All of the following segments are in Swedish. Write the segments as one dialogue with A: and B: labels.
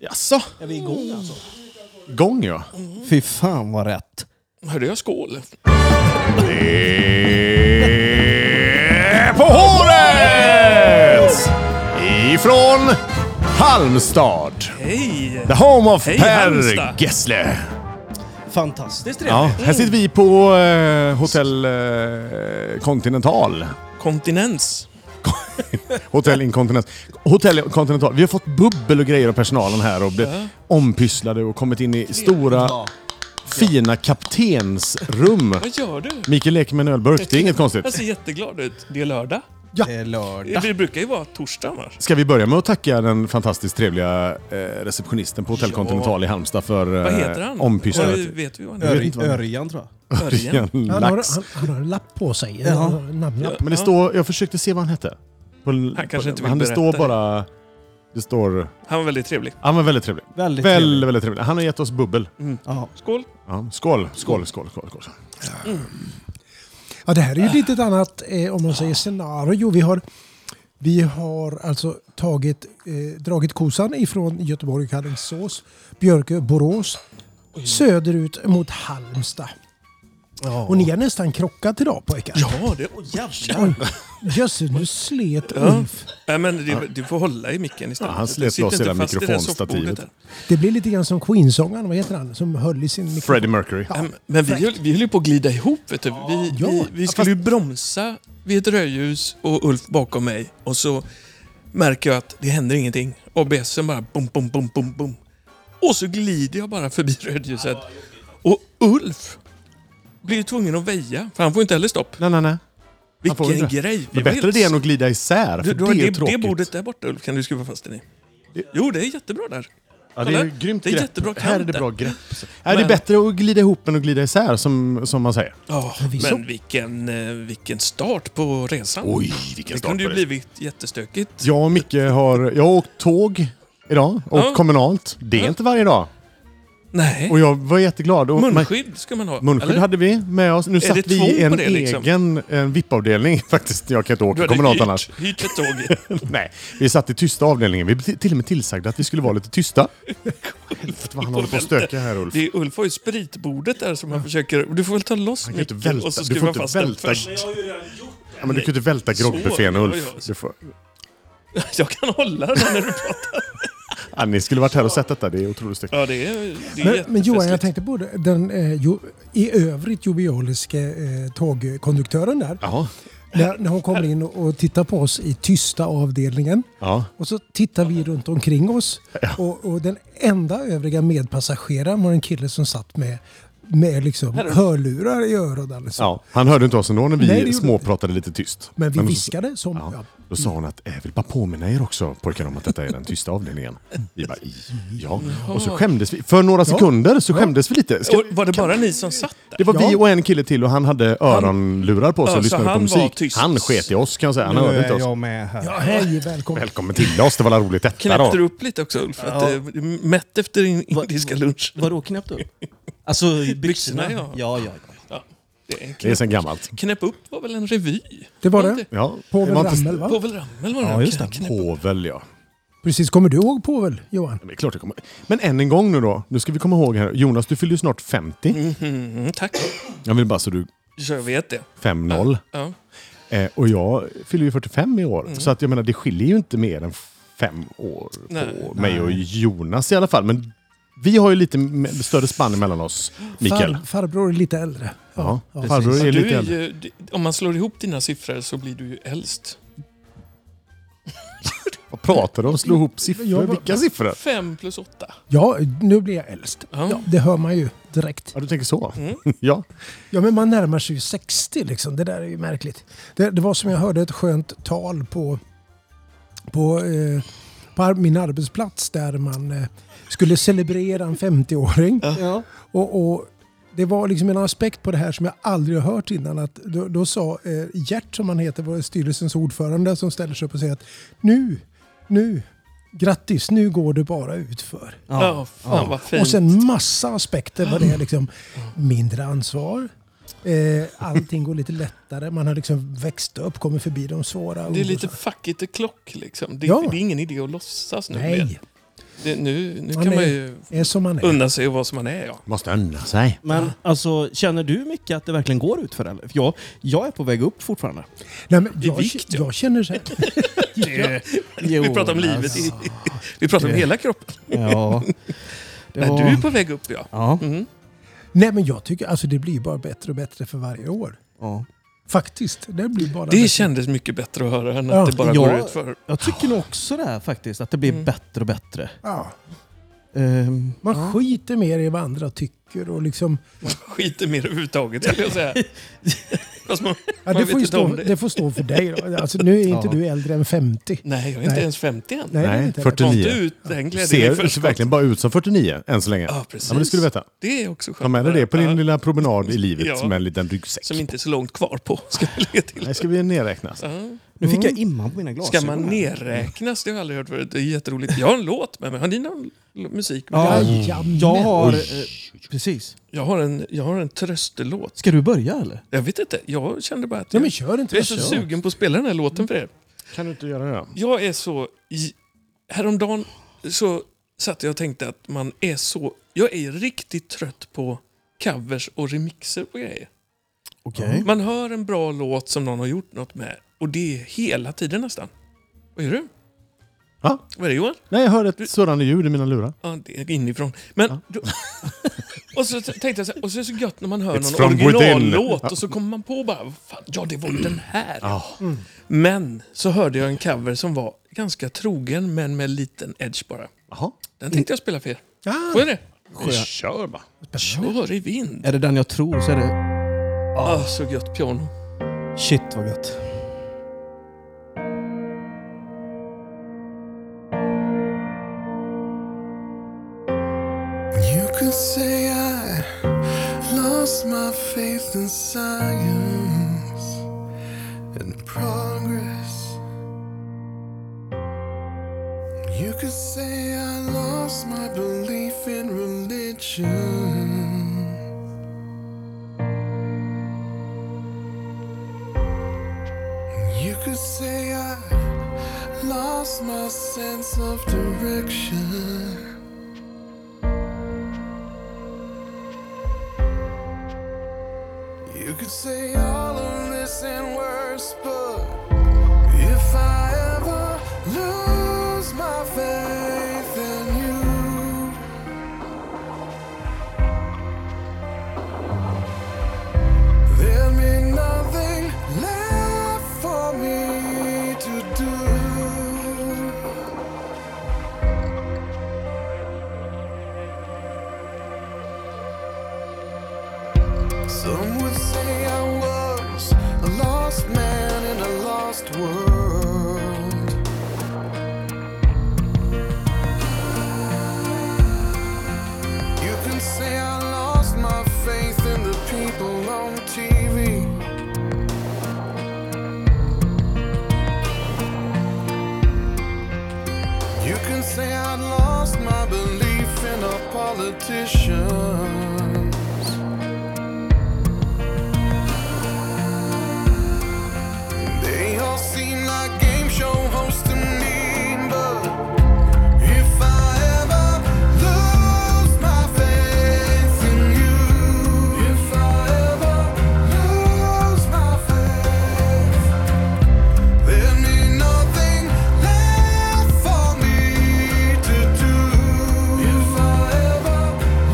A: Jaså?
B: Är vi igång alltså?
A: Gång ja.
B: Fy fan vad rätt.
A: Hörde jag skål? På håret! Ifrån Halmstad.
C: Hej!
A: The home of
C: Hej,
A: Per
C: Halmstad.
A: Gessle.
B: Fantastiskt trevligt.
A: Ja, här sitter vi på eh, Hotell eh, Continental.
C: Kontinens.
A: Hotell Inkontinent. Hotell Continental. Vi har fått bubbel och grejer av personalen här och blivit ompysslade och kommit in i stora fina kaptensrum.
C: Vad gör du?
A: Mikael leker med en ölburk, det är inget
C: Jag
A: konstigt.
C: ser jätteglad ut. Det är lördag.
B: Det är lördag.
C: Det brukar ju vara torsdag annars.
A: Ska vi börja med att tacka den fantastiskt trevliga eh, receptionisten på Hotell Continental i Halmstad för eh,
C: Vad heter han?
A: ompysslandet?
C: Vad- Vet vi vad han
A: vet
B: Ör,
A: inte vad-
B: Örjan tror jag.
C: heter?
D: Han har,
A: Lax.
D: han, han har en lapp på sig.
B: Ja.
D: En namnlapp.
A: Men det står, jag försökte se vad han hette. På,
C: Han kanske inte vill
A: han, Det
C: berätta
A: står
C: det.
A: bara... Det står...
C: Han var väldigt trevlig.
A: Han var väldigt trevlig.
B: Väldigt
A: Väldigt,
B: trevlig.
A: väldigt trevlig. Han har gett oss bubbel.
C: Mm.
B: Ja.
C: Skål!
A: Ja, skål,
C: Mm.
A: skål, skål, skål. skål.
D: Ja, det här är ju ett litet annat, eh, om man säger scenario. Vi har, vi har alltså tagit, eh, dragit kosan ifrån Göteborg, Alingsås, Björkö, Borås, söderut mot Halmstad. Och ni har nästan krockat idag pojkar.
C: Ja, det... Oj, jävlar!
D: Oj, Jösses, nu slet Ulf.
C: Nej, men det, du får hålla i micken istället.
A: Mm. Ja, han
C: Du
A: slet
C: sitter
A: loss
C: inte
A: hela
C: fast i det här
A: mikrofonstativet.
C: soffbordet här.
D: Det blir lite grann som Queen-sångaren, vad heter han, som höll i sin mikrofon.
A: Freddie Mercury.
D: Ja.
C: Nej, Ehm, Men vi höll, vi höll ju på att glida ihop. Vet du. Vi,
D: Ja.
C: vi, vi skulle ju bromsa vid ett rödljus och Ulf bakom mig. Och så märker jag att det händer ingenting. ABSen bara bum, bum, bum, bum, bum. Och så glider jag bara förbi rödljuset. Och Ulf blir ju tvungen att väja, för han får inte heller stopp.
A: Nej, nej, nej. Han får
C: Vilken
A: inte.
C: grej!
A: Det är bättre det än att glida isär, för
C: du, du har
A: det är
C: det, det
A: tråkigt.
C: bordet där borta Ulf, kan du skruva fast den i. Jo, det är jättebra där.
A: Ja, det är
C: Kolla.
A: ju grymt
C: Det är
A: grepp.
C: jättebra
A: Här är
C: kant
A: det
C: där.
A: bra grepp. Nej, det är
C: Men-
A: bättre att glida ihop än att glida isär, som, som man säger.
C: Ja,
D: vi
C: men
D: såg-
C: vilken, eh, vilken start på resan.
A: Oj, vilken
C: det kunde ju blivit jättestökigt.
A: Jag och Micke har, jag har åkt tåg idag, och
C: Ja.
A: kommunalt. Det är
C: Ja.
A: inte varje dag.
C: Nej.
A: Och jag var jätteglad. Och man-
C: Munskydd ska man ha.
A: Munskydd
C: eller?
A: hade vi med oss. Nu
C: det
A: satt vi
C: tvång
A: i en
C: på det, liksom?
A: egen en VIP-avdelning faktiskt. Jag kan inte åka
C: Du hade
A: kommunalt
C: hyrt-
A: annars.
C: Hyrt ett tåg.
A: Nej, vi satt i tysta avdelningen. Vi blev till och med tillsagda att vi skulle vara lite tysta. Helvete vad han håller på att stöka här Ulf.
C: Det är Ulf har ju spritbordet där som han försöker... Du får väl ta loss
A: Du kan inte
C: micken
A: välta,
C: och så
A: du får
C: skruva
A: inte
C: fast den
A: välta...
C: först.
A: Ja, men du kan ju inte välta groggbuffén
C: Så, ja,
A: Ulf.
C: ja.
A: Du får...
C: Jag kan hålla den när du pratar.
A: ja, ni skulle varit här och sett detta, det är otroligt snyggt.
C: Ja, det är, det är
D: Men, men Johan, jag
C: jättefestligt.
D: tänkte på det. den eh, jo, i övrigt jovialiske eh, tågkonduktören där.
A: Jaha.
D: När, när hon kommer in och, och tittar på oss i tysta avdelningen.
A: Ja.
D: Och så tittar vi runt omkring oss. Och, och den enda övriga medpassageraren var en kille som satt med, med liksom hörlurar i öronen. Liksom.
A: ja. Han hörde inte oss ändå när vi
D: Nej, det gjorde-
A: småpratade lite tyst.
D: Men vi
A: så-
D: viskade som...
A: Ja.
D: Ja.
A: Då sa hon att "Eh, jag vill bara påminna er också pojkar om att detta är den tysta avdelningen. Vi bara, "I- ja. Och så skämdes vi. För några sekunder så skämdes vi lite. Ska,
C: Och var det bara ni som satt där?
A: det var
D: Ja.
A: vi och en kille till och han hade öronlurar på sig
C: Ja,
A: och
C: så
A: lyssnade på
C: han var
A: musik.
C: tyst.
A: Han sket i oss kan jag säga. Han
B: Nu
A: hörde inte
B: är
A: oss.
B: jag med här.
D: ja, hej, välkommen.
A: Välkommen till oss, det var väl roligt detta
C: Knäppte du
A: då.
C: upp lite också Ulf? För att, eh, mätt efter din indiska lunch.
E: Vadå knäppt upp? Alltså i byxorna?
C: Byxorna, ja.
E: ja, ja, ja.
C: Ja, det är
A: Det är
C: knäpp.
A: sen gammalt.
C: knäpp upp var väl en revy?
D: Det var
C: Var
D: det.
A: Ja.
D: Povel
A: var inte-
D: Ramel va?
C: Povel Ramel var det.
E: Ja, just det.
C: Knäpp upp.
A: Povel ja.
D: Precis, kommer du ihåg Povel, Johan?
A: Men, det är klart jag kommer. men än en gång nu då. Nu ska vi komma ihåg här. Jonas, du fyller ju snart 50.
C: Mm, tack.
A: Jag vill bara så du...
C: Så jag vet det.
A: 5-0.
C: Ja.
A: Eh, och jag fyller ju 45 i år.
C: Mm.
A: Så att jag menar, det skiljer ju inte mer än fem år
C: Nej.
A: på mig och Jonas i alla fall. Men vi har ju lite m- större spann mellan oss, Mikael.
D: Far, farbror är lite äldre.
A: Ja,
D: Ja,
A: farbror är
C: Du
A: lite
C: är
A: äldre.
C: ju, d- om man slår ihop dina siffror så blir du ju äldst.
A: Vad pratar du om? Slå ihop siffror?
D: Jag var-
A: Vilka siffror?
C: Fem plus åtta.
D: Ja, nu blir jag äldst.
C: Ja.
D: Ja, det hör man ju direkt.
A: Ja, du tänker så?
C: Mm.
A: ja.
D: Ja, men man närmar sig ju 60 liksom. Det där är ju märkligt. Det, det var som jag hörde ett skönt tal på, på, eh, på ar- min arbetsplats där man eh, skulle celebrera en 50-åring.
E: ja.
D: Och, och det var liksom en aspekt på det här som jag aldrig har hört innan. Att då, då sa eh, Gert, som han heter, var styrelsens ordförande, som ställer sig upp och säger att nu, nu, grattis, nu går det bara utför.
C: Ja, fan vad fint. Mm.
D: Och sen massa aspekter vad det är liksom mindre ansvar. Eh, allting går lite lättare. Man har liksom växt upp, kommer förbi de svåra.
C: det är
D: ungdomarna.
C: lite fuck it the clock liksom. Det,
D: Ja.
C: det är ingen idé att låtsas nu mer.
D: Nej.
C: Det, nu nu
D: Han
C: kan man
D: är-
C: ju
D: Är som man är.
C: unna sig vad som man är. Ja.
A: Måste unna sig.
E: Men alltså, känner du mycket att det verkligen går ut för eller? För jag, jag är på väg upp fortfarande.
D: Nej, men
C: I
D: jag,
C: vikt, ja.
D: jag känner så här.
E: Jo,
C: vi pratar om livet. I, vi pratar om
E: Det-
C: hela kroppen.
E: Ja. Det
C: Men
E: var...
C: du är på väg upp ja.
E: Ja.
C: Mm.
D: Nej, men jag tycker alltså det blir bara bättre och bättre för varje år.
E: ja.
D: Faktiskt. Det blir bara bättre.
C: Det kändes mycket bättre att höra än att
D: Ja,
C: det bara
E: ja.
C: går ut för.
E: Jag tycker nog också det här faktiskt, att det blir
C: Mm.
E: bättre och bättre.
D: Ja,
E: Ehm,
D: man skiter mer i vad andra tycker och liksom...
C: Skiter mer överhuvudtaget skulle jag säga. Fast man,
D: Ja,
C: man
D: det,
C: vet
D: får ju
C: inte
D: stå,
C: om
D: det.
C: det.
D: får stå för dig då. Alltså, nu är inte
E: Ja.
D: du äldre än 50.
C: Nej, jag är inte
D: Nej.
C: ens 50 än.
D: Nej, det är
A: Nej,
D: inte
A: 40.
C: Ta inte
A: 49.
C: ut den glädjen i
A: Ser
C: förskott.
A: verkligen bara ut som 49 än så länge.
C: Ja,
A: Ja,
C: precis.
A: men det skulle du veta.
C: Det är också skönt.
A: Ta med dig det på
C: Ja.
A: din lilla promenad i livet
C: Ja.
A: med en liten ryggsäck.
C: Som inte är så långt kvar på, ska jag lägga till.
A: Nej, ska vi nerräknas?
C: Ja.
E: nu fick jag imman på mina glasögon.
C: Ska man nerräknas? Det har jag aldrig hört förut. Det är jätteroligt. Jag har en låt med mig. Har ni någon l- musik?
E: Ja,
D: Jajamän.
E: jag har... eh, precis.
C: Jag, har en, jag har en tröstelåt.
E: Ska du börja eller?
C: Jag vet inte. Jag kände bara att
D: Nej,
C: jag,
D: men kör inte.
C: jag är
D: vad
C: så
D: kör.
C: sugen på att spela den här låten för er.
A: Kan du inte göra det?
C: Jag är så... i- Häromdagen så satt jag och tänkte att man är så... Jag är riktigt trött på covers och remixer på grejer.
E: Okej.
C: Man hör en bra låt som någon har gjort något med och det är hela tiden nästan. Vad gör du?
A: Ja.
C: Vad är det Johan?
A: Nej, jag hör ett surrande ljud i mina lurar.
C: Ja, det är inifrån. Men... Då, och så t- tänkte jag så här, och så är det så gött när man hör
A: It's
C: någon
A: from within.
C: originallåt och så kommer man på bara, "Vad fan, ja det var ju den här. Men så hörde jag en cover som var ganska trogen men med en liten edge bara.
A: Jaha.
C: Den tänkte jag spela för er.
D: Ah,
C: Får jag det?
A: Kör bara.
C: Kör i vind.
E: Är det den jag tror så är det...
C: Ah, så gött piano.
E: Shit vad gött.
F: You could say I lost my faith in science and progress. You could say I lost my belief in religion. You could say I lost my sense of direction. You could say all of this and worse, but if I ever lose my faith in you, there'll be nothing left for me to do. Some would say I was a lost man in a lost world. You can say I lost my faith in the people on TV. You can say I lost my belief in a politician. They all seem like game show hosts to me, but if I ever lose my faith in you, if I ever lose my faith, there'll be nothing left for me to do. If I ever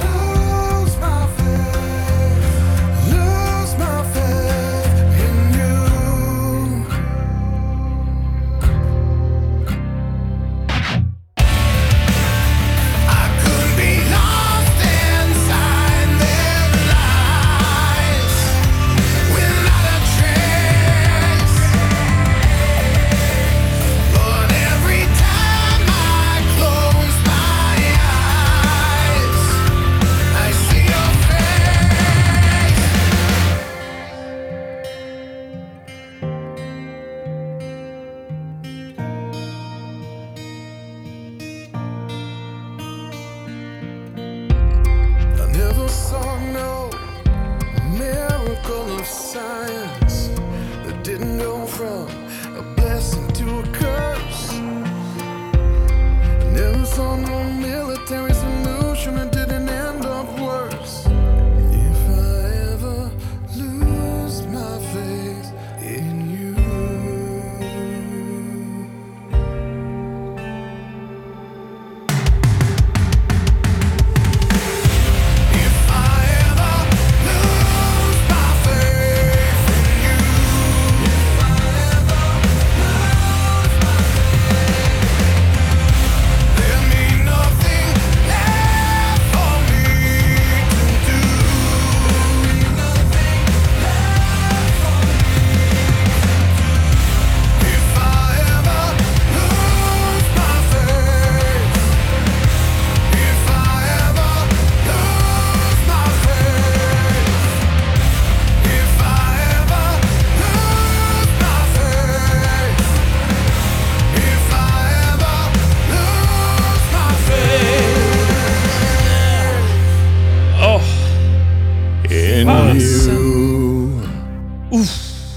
F: lose my faith, lose my faith in you. I could be lost inside their lies without a trace. But every time I close my eyes, I see your face. I never saw no miracle of science that didn't go from a blessing to a curse. I never saw no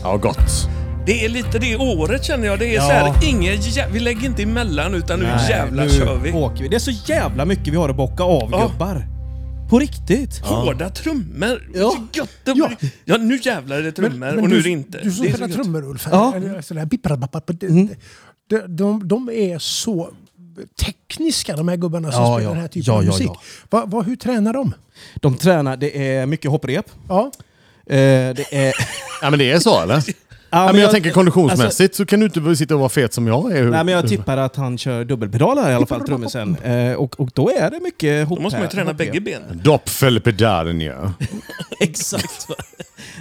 A: Ja, gott.
C: Det är lite det året känner jag. Det är så här, ingen jä- vi lägger inte emellan utan nu jävlar
E: nu
C: kör vi.
E: Åker vi. Det är så jävla mycket vi har att bocka av
C: Ja.
E: gubbar. På riktigt.
C: Hårda trummor.
E: Ja.
C: Så Gött det ja. ja, nu jävlar är det trummor och nu är det inte.
D: Du som
C: det är så
D: spelar
C: gött.
D: trummor Ulf,
E: Ja.
D: eller sådär bipparabappap, de, de, de är så tekniska de här gubbarna som
E: Ja,
D: spelar
E: ja.
D: den här typen
E: Ja,
D: av
E: ja,
D: musik.
E: ja.
D: Va, va, hur tränar de?
E: De tränar, det är mycket hopprep.
D: Ja.
E: Eh, det är...
A: Ja, men det är så, eller? ja, men jag, tänker konditionsmässigt så kan du inte sitta och vara fet som jag är. Mm.
E: Nej, men jag tippar att han kör dubbelpedal här i alla fall, trummisen. Eh, och, och då är det mycket hopprep.
C: Då måste man ju träna bägge benen.
A: Doppfelpedalen, ja.
E: Exakt. Ja,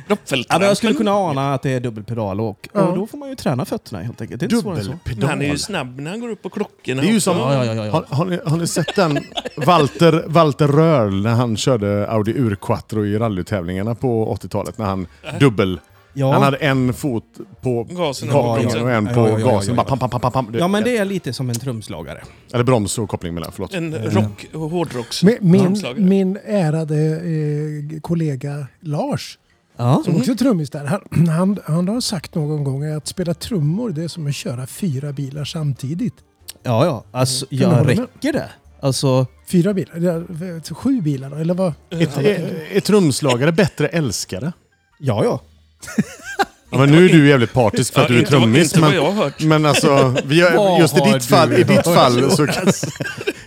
C: Doppeltrampen.
E: men jag skulle kunna ana att det är dubbelpedal och,
D: Ja.
E: och då får man ju träna fötterna helt enkelt. Det är inte svårare än så.
C: Men han är ju
A: Dubbelpedal.
C: snabb när han går upp på klockorna.
A: Det är ju
C: också.
A: som...
E: Ja, ja, ja, ja, ja.
A: Har, har, ni, har ni sett den? Walter, Walter Röhrl när han körde Audi Urquattro i rallytävlingarna på 80-talet. När han dubbel...
E: Ja.
A: Han hade en fot på
C: Gasen och
A: kopplingen
C: bromsen.
A: och en
E: Ja,
A: på
E: ja, ja, ja,
A: gasen.
E: ja.
A: Bara pam, pam, pam, pam, pam. Det-
E: Ja, men det är lite som en trumslagare.
A: Eller broms och koppling mellan, förlåt.
C: En rock, hårdrocks...
D: Min, min,
C: trumslagare.
D: min ärade eh, kollega Lars,
E: Ja.
D: som också är trummis där, han, han, han har sagt någon gång att spela trummor det är som att köra fyra bilar samtidigt.
E: Ja, ja. Alltså,
D: Kan du
E: jag
D: hålla med?
E: räcker det? Alltså,
D: Fyra bilar? Det är Sju bilar då, eller vad?
A: Är, är, är trumslagare bättre älskare?
E: ja, ja.
A: Ja, men nu är du jävligt partisk för att
C: Ja,
A: du är
C: inte vad-
A: trummis.
C: inte vad
A: men-
C: jag har hört.
A: Men alltså, vi har,
E: Vad
A: just i
E: har
A: ditt,
E: du
A: fall, i ditt
E: hört?
A: fall så kan,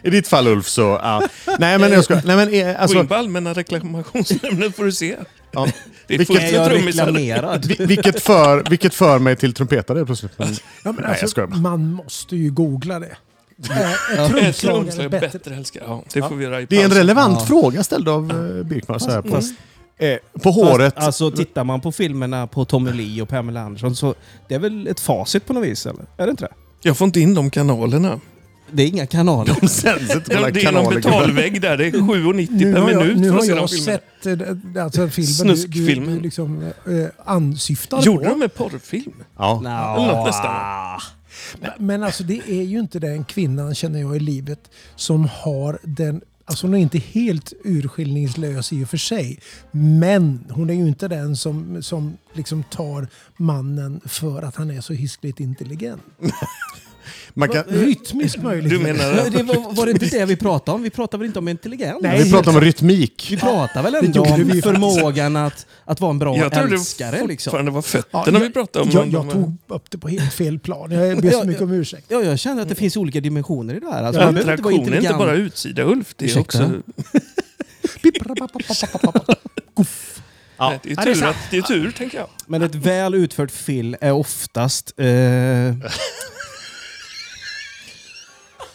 A: I ditt fall Ulf så... Ja. Nej men jag ska, Nej men eh,
C: Gå
A: alltså...
C: in på Allmänna reklamationsnämnden får du se.
A: Ja,
C: Det är
A: Vilket-
E: Är
C: fullt med
E: jag
C: trummisar.
E: reklamerad? Alltså,
A: vi- vilket, för, vilket för mig till trumpetare plötsligt. Men,
D: Ja, men
A: Nej, jag
D: alltså,
A: skojar bara.
D: man måste ju googla det. Är- Är
C: Ett
D: trumslagare
C: trumslag är
D: bättre?
C: bättre älskar. Ja, det får vi göra i
A: det är en
C: pausen.
A: relevant fråga ställd av eh, Birkman så här på,
E: Fast-
A: eh, på håret.
E: Fast, alltså, tittar man på filmerna på Tommy Lee och Pamela Anderson så det är väl ett facit på något vis, eller? Är det inte det?
C: Jag får inte in de kanalerna.
E: Det är inga kanaler.
A: De sänds inte på alla
C: det är någon
A: kanaler. gubbar.
C: betalvägg där. Det är 7,90
D: Nu
C: per
D: har jag,
C: minut
D: nu
C: för
D: har
C: att se de
D: jag
C: filmerna.
D: sett eh, alltså, filmen du, du,
C: Snuskfilmen.
D: du liksom, eh, ansyftar
C: Gjorde
D: på.
C: de en porrfilm?
A: Ja.
C: Något nästan.
D: Men alltså, det är ju inte den kvinnan, känner jag, i livet som har den... Alltså hon är inte helt urskiljningslös i och för sig. Men hon är ju inte den som, som liksom tar mannen för att han är så hiskligt intelligent.
A: Man kan,
D: Rytmiskt möjligt.
C: Eh, Du menar...
E: Det var, var det inte det vi pratade om? Vi pratade väl inte om intelligens?
D: Nej.
A: vi pratar om rytmik.
E: Vi pratar väl
D: Det
E: ändå
D: gjorde vi
E: om
D: ju
E: förmågan att, att vara en bra
C: Jag trodde
E: älskare?
C: fortfarande
E: Liksom.
C: det var
D: Ja,
C: fötterna
D: jag-
C: vi pratade om.
D: Jag,
C: men-
D: jag tog upp det på helt fel plan. Jag ber så
E: Ja,
D: mycket
E: ja.
D: om ursäkt.
E: Ja, jag känner att det finns olika dimensioner i det här. Alltså, man behöver inte vara
C: Attraktion är inte
E: intelligent.
C: bara utsida, Ulf. Det är
E: Ursäkta.
C: också...
A: Ja.
C: Det är tur, att, det är tur tänker jag.
E: Men ett väl utfört fill är oftast... Eh,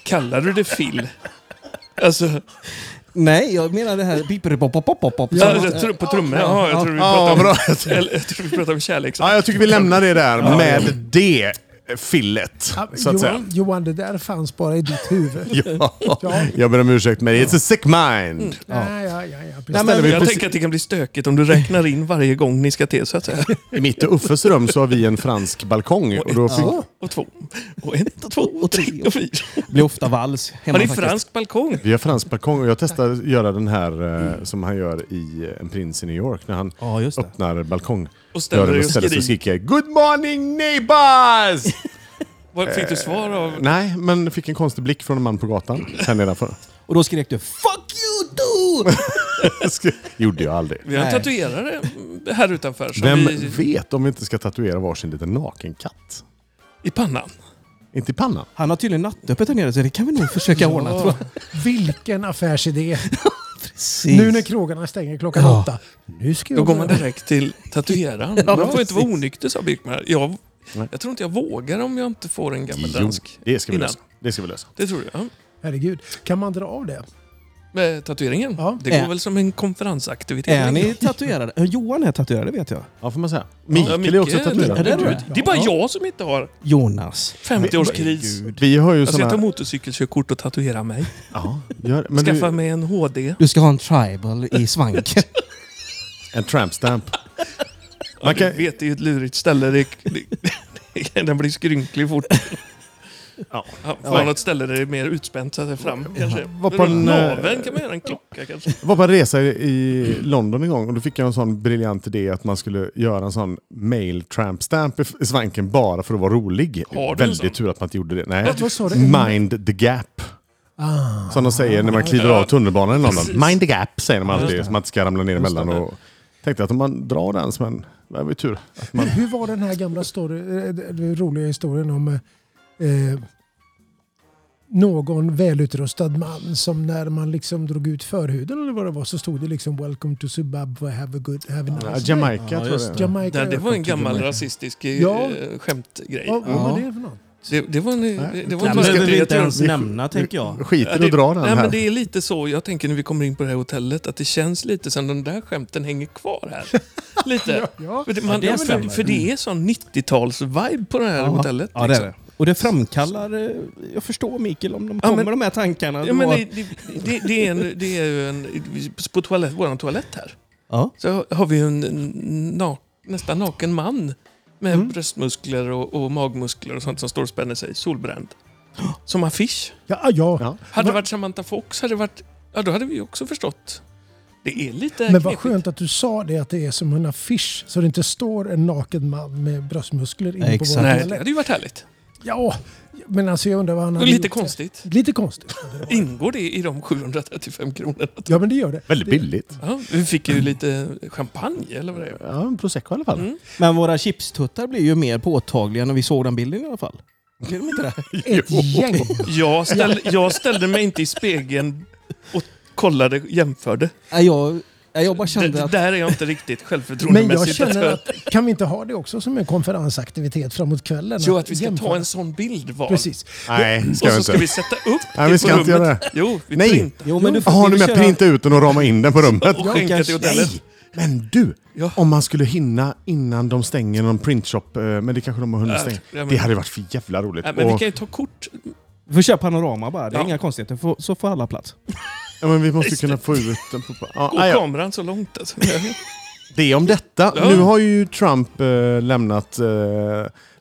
C: Kallar du det fill? Alltså,
E: nej, jag menar det här... bipperipopopopopop.
C: ja, jag tror- på trummor? Ja, jag tror vi
A: Ja,
C: pratar om,
A: bra.
C: eller, jag tror vi pratar om kärlek.
A: Ja, jag tycker vi lämnar det där med det fillet, så att säga.
D: Johan, Johan, det där fanns bara i ditt huvud.
A: Ja. Jag ber om ursäkt, men it's a sick mind.
D: ja, ja, ja, ja, precis.
E: Nej,
A: Ställer vi
E: men,
C: Jag
A: precis-
C: tänker att det kan bli stökigt om du räknar in varje gång ni ska till så att säga.
A: I mitt och Uffes rum så har vi en fransk balkong. Och då fick,
E: Ja.
C: Och två, och ett, och två, och tre, och fyra.
E: det blir ofta vals hemma
C: Har ni
E: faktiskt.
C: fransk balkong?
A: Vi har fransk balkong och jag testade att göra den här eh, som han gör i eh, En prins i New York. När han
E: Mm. Ja, just det.
A: öppnar balkong.
C: Och ställer dig och
A: ställer sig och
C: skriker.
A: skriker Good morning neighbors!
C: Vad Fick du svar av...
A: Nej, men fick en konstig blick från en man på gatan här nedanför.
E: Och då skrek du “Fuck you too!”
A: Gjorde jag aldrig.
C: Vi har en
E: Nej.
C: tatuerare här utanför som
A: Vem
C: vi,
A: vet om vi inte ska tatuera varsin liten naken katt?
C: i pannan.
A: Inte i pannan.
E: Han har tydligen nattöppet här nere så det kan vi nog försöka ordna tror jag.
D: Vilken affärsidé!
E: Precis.
D: Nu när krogarna stänger klockan
E: Ja.
D: åtta. Nu ska jag
C: Då går man direkt till tatueraren.
E: Ja,
C: man får inte vara
E: precis.
C: onykter sa Birkman. Jag,
A: Nej.
C: jag tror inte jag vågar om jag inte får en gammal dansk.
A: det ska vi
C: innan.
A: lösa. Det ska vi lösa.
C: Det tror jag.
D: Herregud, kan man dra av det?
C: Med tatueringen.
D: Ja.
C: Det går
E: Ä-
C: väl som en konferensaktivitet.
E: Är ni tatuerade? Eh, Johan är tatuerad, det vet jag.
A: Ja, får man säga. Mikael
C: Micke
A: är också tatuerad.
E: Är det
C: herregud.
E: det?
C: Det är bara
E: Ja.
C: jag som inte har
E: Jonas.
C: 50-årskris.
A: Vi har ju
C: Alltså, Jag ska ta
A: såna...
C: motorcykelkörkort och tatuera mig.
A: Ja, gör, men
C: Skaffa
A: du,
C: mig en HD.
E: Du ska ha en tribal i svanken.
A: en tramp stamp.
C: Man
A: kan-
C: vet, det är ju ett lurigt ställe. Det, det, den blir skrynklig fort.
A: Ja.
C: Ja, får ha något ställe där det är mer utspänt så att det är fram kanske.
A: Var på en, eh,
C: Naveln kan man göra en klocka kanske.
A: Jag var på en resa i London en gång och då fick jag en sån briljant idé att man skulle göra en sån mail tramp stamp i f- i svanken bara för att vara rolig.
C: Har du en sån?
A: Väldigt tur att man inte gjorde det. Nej.
D: Vad sa du? Mm. Ah.
A: Mind the gap. Som de säger när man kliver av tunnelbanan i London. Mind the gap säger man alltid, så man inte ska ramla ner emellan. Och tänkte att om man drar den, så men det var ju tur. Att man,
D: Hur var den här gamla story, eh, den roliga historien om eh, eh, någon välutrustad man som när man liksom drog ut förhuden eller vad det var så stod det liksom Welcome to Zimbabwe, have a good, have a
A: ja,
D: nice day.
A: Jamaica tror
B: just
A: jag det är.
D: Jamaica.
C: Det, det var en gammal
A: Jamaica.
C: rasistisk eh,
D: Ja.
C: skämtgrej.
D: Vad, vad var det för något?
C: Det, det var en... eh, Det, det var
E: Den
C: en
E: behöver vi
C: jag
E: inte
C: tror-
E: ens
A: vi-
E: nämna, tänker jag.
A: Vi skiter och
C: det-
A: drar den
C: Nej, men
A: här.
C: det är lite så jag tänker när vi kommer in på det här hotellet, att det känns lite som de där skämten hänger kvar här. Lite. För det, man,
E: det
C: för,
E: stämmer.
C: för det är sån 90-tals-vibe på det här hotellet.
E: Ja, det är
C: liksom.
E: det. Och det framkallar... eh, Jag förstår Mikael om de
C: Ja,
E: kommer
C: men-
E: de här tankarna.
C: Ja, men
E: då.
C: det, det, det, det, är en, det är ju en... På toalett, vår toalett här
E: ja.
C: så har vi en en na, nästan naken man med bröstmuskler och, och magmuskler och sånt som står och spänner sig, solbränd. Som affisch.
D: Ja, ah, ja.
A: Ja.
C: Hade det varit Samantha Fox hade det varit... Ja, då hade vi ju också förstått. Det är lite
D: Men vad
C: knepigt.
D: skönt att du sa det, att det är som en affisch. Så det inte står en naken man med bröstmuskler inne på
E: Exakt.
D: vår
C: Nej, det
D: toalett.
C: hade ju varit härligt.
D: Ja, men alltså jag undrar vad han
C: Och
D: hade
C: lite
D: gjort.
C: konstigt.
D: Lite konstigt.
C: Ingår det i de 735 kronorna? Mm.
D: Ja, men det gör det.
A: Väldigt billigt.
C: Ja, vi fick ju lite champagne eller vad det är.
A: Ja, en prosecco i alla fall.
E: Men våra chipstuttar blir ju mer påtagliga när vi såg den bilden i alla fall. Blir de inte det?
D: Ett gäng.
C: Jag ställde, jag ställde mig inte i spegeln och kollade, jämförde.
E: Nej, jag, nej, jag bara kände
C: Det,
E: att...
C: där är jag inte riktigt
D: Men
C: självförtroendemässigt.
D: jag känner
C: jag-
D: att kan vi inte ha det också som en konferensaktivitet framåt kvällen?
C: Jo, att vi ska
D: jämföra?
C: ta en sån bild var.
D: Precis.
A: Nej, ska
C: och
A: jag
C: så
A: inte.
C: ska vi sätta upp
A: Nej,
C: det
A: vi ska
C: på
A: inte
C: rummet.
A: göra det.
C: Jo, vi
A: Nej.
C: printar.
E: Jo, men du får
A: Har
E: vi
A: ni med
E: köra-
A: printa ut den och rama in den på rummet?
C: Och skänka till hotellet.
A: Nej, men du! Om man skulle hinna innan de stänger någon printshop, eh, men det kanske de har hunnit
C: Ja,
A: stänga.
C: ja, men-
A: Det hade varit för jävla roligt.
C: Nej, men vi
A: Och-
C: kan ju ta kort.
E: Vi får köra panorama bara, det är
C: Ja.
E: inga konstigheter. Får- Så får alla plats.
A: ja, men vi måste ju kunna få ut den. På, ja,
C: Gå
A: nej, ja.
C: kameran så långt alltså.
A: Det om detta.
C: Ja.
A: Nu har ju Trump eh, lämnat eh,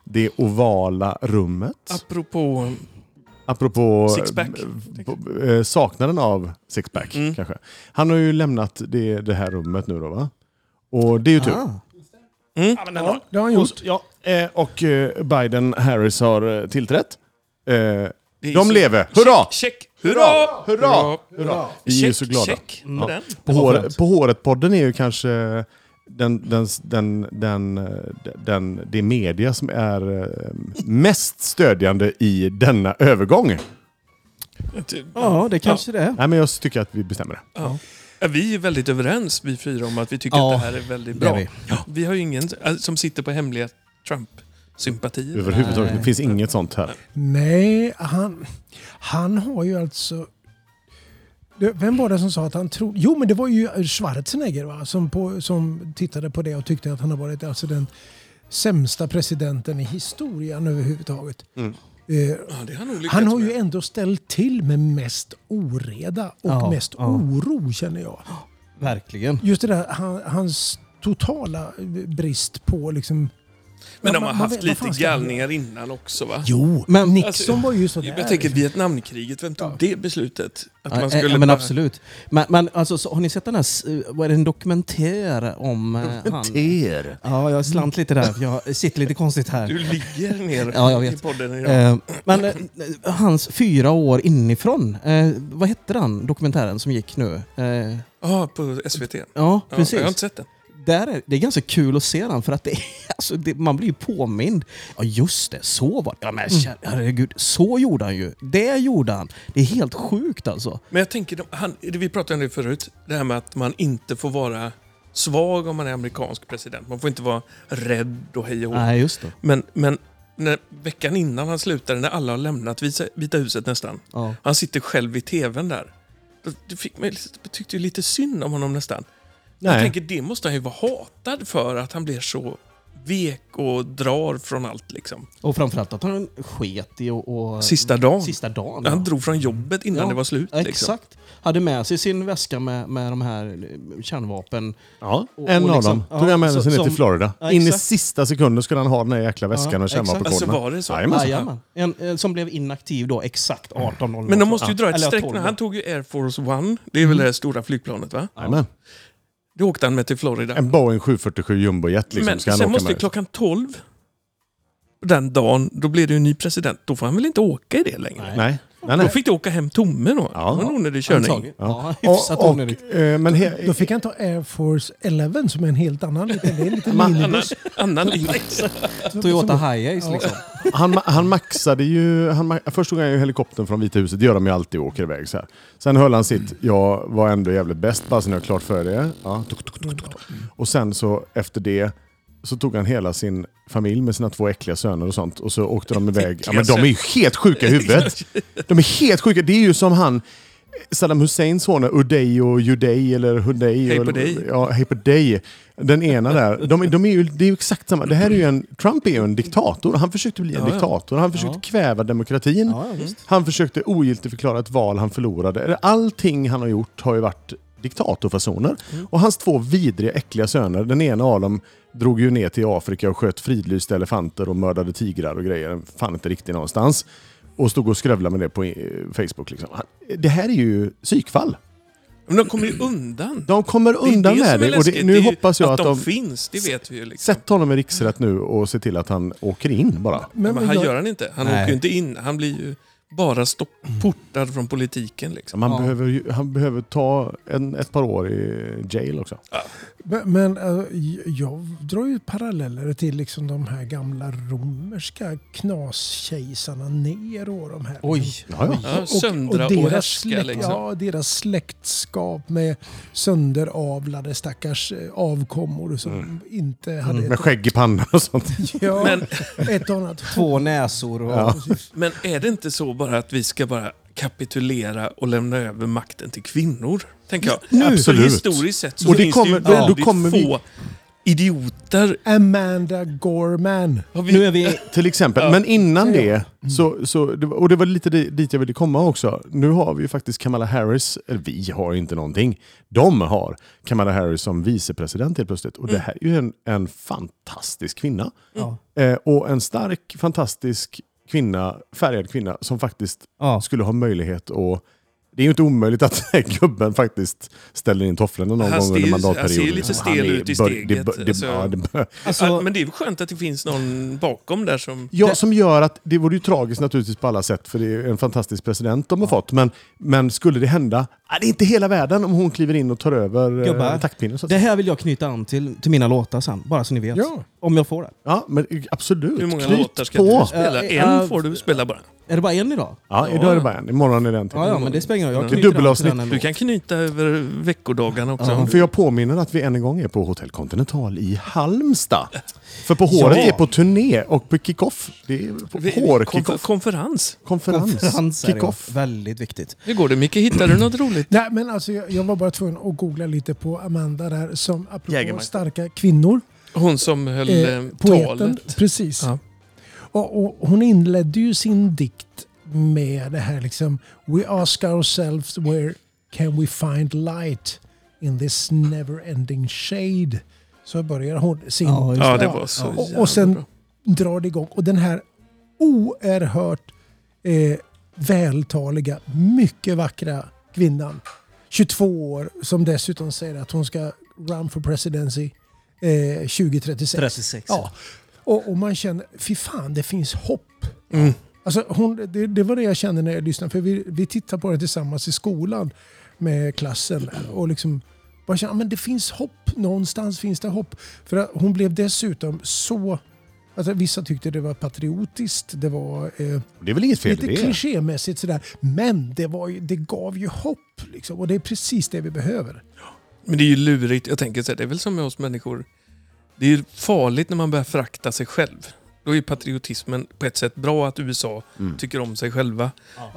A: det ovala rummet.
C: Apropå...
A: Apropå
C: Sixpack. Mm.
A: eh, b- eh, saknaden av sixpack. Kanske. Han har ju lämnat det, det här rummet nu då va? Och det är ju
E: Ah.
A: tur.
D: Ja, det har han gjort.
A: Ja, eh, och eh, Biden Harris har eh, tillträtt. Eh,
C: är
A: De
C: så-
A: lever! Hurra!
C: Check! Hurra!
A: Hurra! Hurra! Vi är
C: Check,
A: så glada.
C: check. med den.
A: På, hår, på håret-podden är ju kanske den, den, den, den, eh, den, det media som är eh, mest stödjande i denna övergång.
E: Ja, det kanske det är.
A: Nej, men jag tycker att vi bestämmer det.
C: Ja, Vi är väldigt överens vi fyra om att vi tycker
E: Ja,
C: att det här är väldigt
E: det är
C: bra.
E: vi.
C: Ja. vi har ju ingen alltså, som sitter på hemliga Trump-sympatier.
A: Överhuvudtaget. Det finns inget sånt här.
D: Nej, han, han har ju alltså... Det- Vem var det som sa att han trodde... Jo, men det var ju Schwarzenegger va? som, på, som tittade på det och tyckte att han har varit alltså den sämsta presidenten i historien överhuvudtaget. Eh,
C: Ja, det har nog Mm. lyckats
D: han har ju
C: med.
D: ändå ställt till med mest oreda och
E: Ja,
D: mest
E: ja.
D: oro känner jag.
E: Verkligen.
D: Just det där, han, hans totala brist på liksom...
C: Men de
D: man-
C: har
D: man vet-
C: haft
D: vad
C: lite
D: fan ska han
C: gallningar innan också va?
D: Jo,
E: Oh, Men-
D: men Nixon
C: Alltså,
D: var ju sådär.
C: Jag tänker Vietnamkriget, vem tog det beslutet? Att
E: Ja,
C: man skulle
E: eh, men
C: bara-
E: absolut. Men, men alltså, så, har ni sett den här, s- eh, vad är det, en dokumentär om eh, han?
A: Er.
E: Ja, jag slant lite där, för jag sitter lite konstigt här.
C: Du ligger ner
E: Ja, jag vet.
C: i podden idag.
E: Eh, men eh, hans fyra år inifrån, eh, vad hette den dokumentären som gick nu? Eh,
C: Ja, på SVT. Ja,
E: ja, precis.
C: Jag har inte sett den.
E: Där är, det är ganska kul att se den för att det, är- alltså det, man blir ju påmind. Ja just det, så var det. Ja,
C: Mm.
E: men kära, herregud, så gjorde han ju. Det gjorde han. Det är helt sjukt alltså.
C: Men jag tänker, de- han, vi pratade om det förut, det här med att man inte får vara svag om man är amerikansk president. Man får inte vara rädd och hej och hå.
E: Nej just det.
C: Men, men när, veckan innan han slutade, när alla har lämnat Vita, Vita huset nästan,
E: Ja.
C: han sitter själv i tvn där. Då- Det fick mig, lite- jag tyckte ju lite synd om honom nästan. Jag
A: Nej.
C: tänker, det måste han ju vara hatad för, att han blir så vek och drar från allt liksom.
E: Och framförallt att han sket i och, och
C: Sista dagen.
E: sista dagen.
C: Han
E: ja.
C: drog från jobbet innan
E: Ja,
C: det var slut. Liksom.
E: Exakt. hade med sig sin väska med, med de här eh, kärnvapen.
A: Ja,
E: Och-
A: en
E: och
A: av
E: liksom-
A: dem tog han med
E: ja,
A: sig ner
E: så-
A: till
E: som-
A: Florida.
E: Ja,
A: In i
E: exakt.
A: sista sekunden skulle han ha den där jäkla väskan och
E: exakt.
A: kärnvapenkoderna.
C: Alltså, var det så?
A: Jajamän.
E: Jajamän. En, eh, som blev inaktiv då exakt 18.00.
C: Men de måste ju dra ett
E: Eller
C: streck.
E: 12.
C: nu. Han tog ju Air Force One. Det
A: Mm.
C: är väl det här stora flygplanet va?
A: Jajamän.
C: Det åkte han med till Florida.
A: En Boeing 747 jumbojet liksom
C: Men
A: ska han
C: sen
A: åka
C: måste ju
A: med.
C: klockan 12 den dagen, då blir det ju en ny president. Då får han väl inte åka i det längre?
A: Nej. Nej,
C: Då
A: nej.
C: fick du åka hem tomme då.
A: Ja.
C: Det var en onödig körning.
E: Antagligen. Ja, hyfsat
A: Och, och,
E: onödigt.
A: eh, men he-
D: Då fick han ta Air Force 11 som är en helt annan liten, det är en liten
A: Man-
C: Annan,
D: minibuss.
C: annan linje.
E: Toyota Hiace
D: Ja.
E: liksom.
A: han, ma- han maxade ju... Han ma- först tog han ju helikoptern från Vita huset. Det gör de ju alltid och åker iväg så här. Sen höll han sitt “Jag var ändå jävligt bäst, bara så ni har klart för er”. Ja, tuk, tuk, tuk, tuk, tuk. Och sen så efter det så tog han hela sin familj med sina två äckliga söner och sånt och så åkte de iväg. Ja, men de är ju helt sjuka i huvudet. De är helt sjuka. Det är ju som han Saddam Husseins söner, Uday och Uday eller Huday.
C: Hej på
A: eller-
C: dig.
A: Ja, hej på dig. Den ena där. De, de är ju, det är ju exakt samma. Det här är ju en, Trump är ju en diktator. Han försökte bli en
C: ja.
A: diktator. Han försökte kväva demokratin.
E: Ja, ja, visst.
A: Han försökte ogiltigförklara ett val han förlorade. Eller Allting han har gjort har ju varit diktatorfasoner.
C: Mm.
A: Och hans två vidriga, äckliga söner, den ena av dem drog ju ner till Afrika och sköt fridlysta elefanter och mördade tigrar och grejer. Fan inte riktigt någonstans. Och stod och skrävlade med det på eh, Facebook. Liksom. Han- Det här är ju psykfall.
C: Men de kommer ju undan.
A: De kommer undan
C: det
A: med
C: är som är
A: det. Och det
C: läskigt.
A: nu
C: Det är ju
A: hoppas jag att,
C: de...
A: de...
C: finns, det vet vi ju. Liksom.
A: Sätt honom i riksrätt nu och se till att han åker in bara.
C: Men,
D: men
C: han
D: jag-
C: gör han inte. Han
E: Nej.
C: åker ju inte in. Han blir ju bara stopp,
A: Mm.
C: portad från politiken. Liksom.
A: Man behöver, ju- han behöver ta en, ett par år i jail också.
D: Men, men eh, jag drar ju paralleller till liksom de här gamla romerska knaskejsarna Nero och de här.
E: Oj.
A: Ja, ja.
C: Ja, söndra och, härska
D: släkt,
C: liksom.
D: Ja, deras släktskap med sönderavlade stackars eh, avkommor som inte hade
A: Med
D: ett,
A: skägg i pannan och sånt.
D: ja,
C: Mm. Men-
D: ett och annat
E: Två näsor och...
A: Ja.
C: Men är det inte så bara att vi ska bara kapitulera och lämna över makten till kvinnor? Tänker jag.
A: Nu.
C: För
A: Absolut.
C: historiskt sett så
A: Och det
C: finns
A: kommer-
C: det ju
A: då
C: väldigt
A: kommer vi-
C: få idioter.
D: Amanda Gorman.
C: Har vi...
E: Nu är vi...
A: Till exempel. Men innan det,
C: Mm.
A: så, så, det var- och det var lite di- dit jag ville komma också. Nu har vi ju faktiskt Kamala Harris, eller vi har ju inte någonting. De har Kamala Harris som vicepresident helt plötsligt. Och det
C: Mm.
A: här är ju en, en fantastisk kvinna. Eh, och en stark, fantastisk kvinna, färgad kvinna, som faktiskt
E: Ja.
A: skulle ha möjlighet att det är ju inte omöjligt att den här gubben faktiskt ställer in tofflorna någon
C: Han
A: gång
C: ser-
A: under mandatperioden.
C: han ser lite
A: liksom.
C: stel
A: är-
C: ut i
A: bör- Det,
C: steget,
A: bör- det,
C: alltså.
A: ja, det, bör-
C: Ja,
E: Alltså,
C: men det är ju skönt att det finns någon bakom där som...
A: Ja, som gör att det vore ju tragiskt naturligtvis på alla sätt för det är ju en fantastisk president de har fått. Men, men skulle det hända, ah, det är inte hela världen om hon kliver in och tar över eh,
E: Gubbar,
A: taktpinnen. Så att
E: det
A: säga.
E: här vill jag knyta an till, till mina låtar sen, bara så ni vet.
D: Ja.
E: Om jag får det.
A: Ja, men eh, absolut.
C: Hur många
A: Knyt
C: låtar ska
A: på.
C: du
E: Ja,
C: spela? en
E: ja.
C: får du spela bara.
E: Är det bara en idag?
A: Ja, idag är det bara en. Imorgon är det en till.
E: Ja, ja men det spelar ingen roll. Jag
A: Det är
E: knyter an till
A: dubbelavsnitt.
E: den ändå.
C: Du kan knyta över veckodagarna också.
E: Ja.
A: För jag påminner att vi än en gång är på Hotel Continental i Halmstad. För På håret
E: Ja.
A: är på turné och på kickoff. Det är på
C: Vi- konfer-
A: hårkickoff.
C: konferens.
A: Konferens.
E: Konferenser,
A: Kickoff.
E: ja. Väldigt viktigt.
C: Hur går det Micke? Hittar du något roligt?
D: Nej, men alltså, jag, jag var bara tvungen att googla lite på Amanda där som apropå
A: Jägermeister.
D: starka kvinnor.
C: Hon som höll
D: Eh,
C: eh,
D: poeten,
C: talet.
D: precis.
C: Ja.
D: Och, och hon inledde ju sin dikt med det här liksom We ask ourselves where can we find light in this never ending shade. Så börjar hon sin...
E: Ja, just
C: Ja, det var så
D: Och,
C: jävla
D: och sen
C: bra.
D: drar det igång. Och den här oerhört eh, vältaliga, mycket vackra kvinnan. 22 år, som dessutom säger att hon ska run for presidency eh, 2036.
E: 36.
D: Ja. Och, och man känner, fy fan det finns hopp. Alltså hon, det, det var det jag kände när jag lyssnade. För vi, vi tittade på det tillsammans i skolan med klassen. Och liksom bara kände, men det finns hopp. Någonstans finns det hopp. För att hon blev dessutom så... Alltså, vissa tyckte det var patriotiskt. Det var eh,
A: Det är väl inget fel i
D: lite
A: det?
D: klichémässigt sådär. Men det, var ju, det gav ju hopp. Liksom, och det är precis det vi behöver.
C: Men det är ju lurigt. Jag tänker så här, det är väl som med oss människor. Det är ju farligt när man börjar frakta sig själv. Då är ju patriotismen på ett sätt bra att USA tycker om sig själva.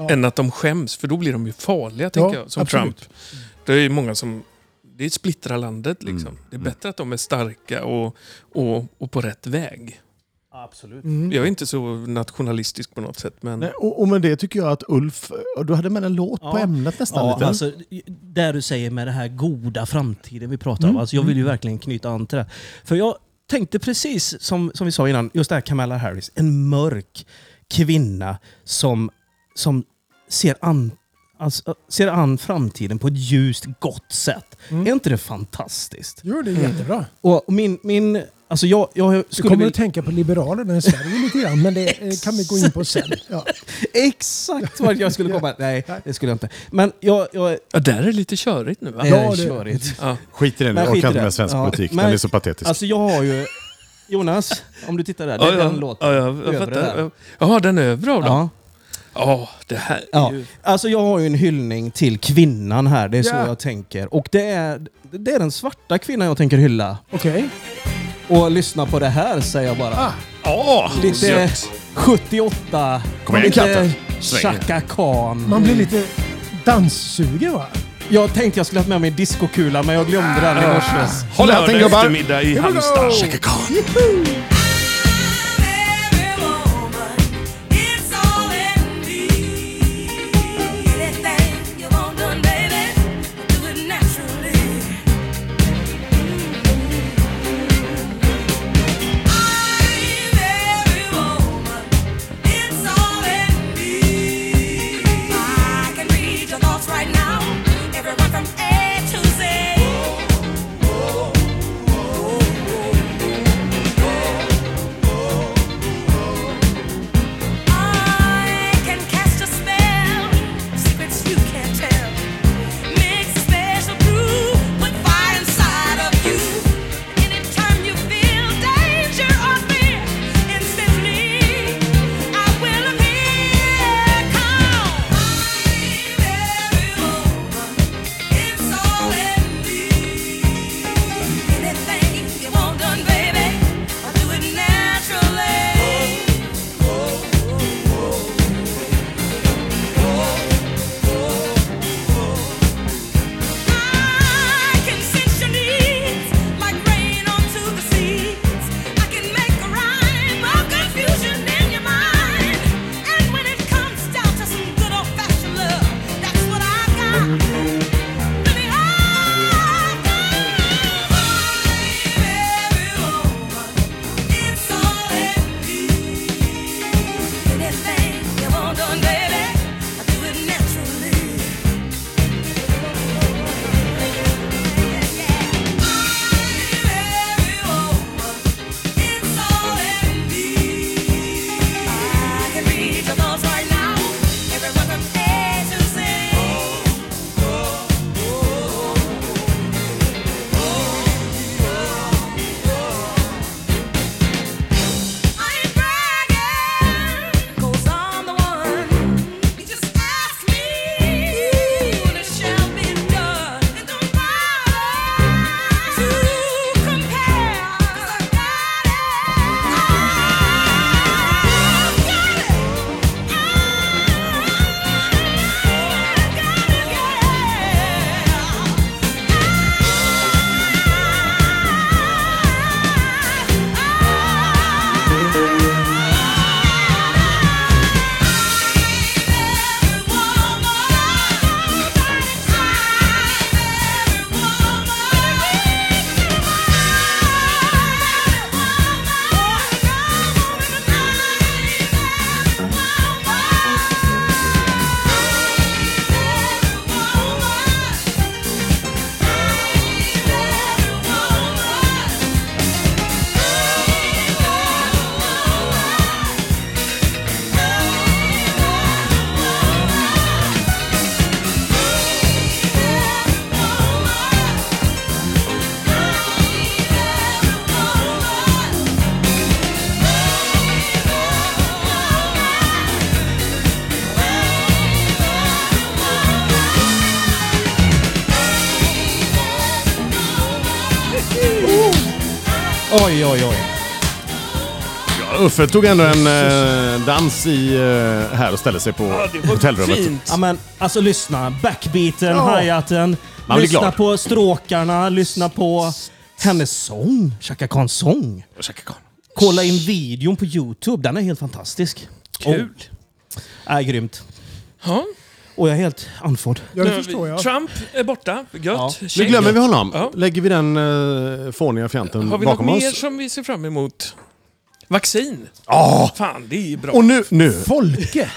C: Än att de skäms, för då blir de ju farliga, tänker jag, som
D: absolut.
C: Trump. Det är ju många som... Det splittrar landet liksom. Det är bättre att de är starka och, och, och på rätt väg.
E: Absolut.
C: Jag är inte så nationalistisk på något sätt, men...
A: Nej, och, och med det tycker jag att Ulf, eh, du hade med en låt på
E: Ja.
A: ämnet nästan
E: Ja,
A: lite.
E: alltså, där du säger med den här goda framtiden vi pratar om. Alltså, jag vill ju verkligen knyta an till det. För jag tänkte precis som, som vi sa innan, just det här Kamala Harris. En mörk kvinna som, som ser, an, alltså, ser an framtiden på ett ljust, gott sätt. Är inte det fantastiskt?
D: Jo, det är jättebra.
E: Och min... min alltså jag, jag
D: Du
E: skulle
D: kommer
E: vilja-
D: att tänka på Liberalerna i Sverige lite grann, men det eh, kan vi gå in på sen. Ja.
E: Exakt vart jag skulle komma. Nej, det skulle jag inte. Men jag... jag eh,
C: Ja, där är det lite körigt nu, va?
E: det är
D: det-
E: körigt.
C: Ja.
A: Skit i den,
E: Men
A: jag
E: skit
A: orkar
E: i
A: inte
E: det.
A: med svensk
E: Ja,
A: politik.
E: men-
A: Den är så patetisk.
E: Alltså jag har ju... Jonas, om du tittar där. Det är den låten.
C: Ja, jag,
E: Övre
C: jag
E: där.
C: fattar. Jaha, den övre av dem?
E: Ja.
C: Ja, det här är
E: Ja.
C: ju...
E: Alltså jag har ju en hyllning till kvinnan här, det är så
D: Ja.
E: jag tänker. Och det är, det är den svarta kvinnan jag tänker hylla.
D: Okej.
E: Och lyssna på det här säger jag bara.
C: Ah. Ja,
E: lite 78,
A: Kom igen,
E: lite
A: katten.
E: Chaka Khan.
D: Man blir lite danssugen va?
E: Jag tänkte jag skulle haft med mig en discokula men jag glömde den i morse.
A: Håll i hatten gubbar!
C: i Halmstad. Chaka Khan.
G: Right now, everyone from A to Z. Oh, I can cast a spell, secrets you can't tell. Mix a special brew with fire inside of you. Anytime you feel danger or fear, instantly I will appear. Come, it's all in me. Anything you want done, baby, I do it naturally. I can sense your needs like rain onto the seeds. I can make a rhyme of confusion in your mind. And when it comes down to some good old fashioned love, that's what I got. Really, I It's all in me. Anything you want done, baby, I do it naturally.
E: Oj, oj, oj.
A: Uffe tog ändå en eh, dans i, eh, här och ställde sig på hotellrummet.
E: Ja, men, alltså lyssna. Backbeaten, hi-haten.
A: Man blir
E: Lyssna
A: glad.
E: på stråkarna, lyssna på hennes sång. Chaka Khans sång.
C: Chaka Khan.
E: Kolla in videon på Youtube. Den är helt fantastisk.
C: Kul.
E: Och, äh, grymt.
C: Ja,
E: Och jag är helt andfådd.
D: Ja,
C: nu
D: det
C: har vi-
D: förstår jag.
C: Trump är borta. Gött.
A: Nu
C: Shane.
A: glömmer vi honom.
C: Ja.
A: Lägger vi den uh, fåniga fjanten
C: Har vi
A: bakom
C: något mer
A: oss.
C: som vi ser fram emot? Vaccin.
A: Ja.
C: Fan, det är ju bra.
A: Och nu, nu,
D: Folke!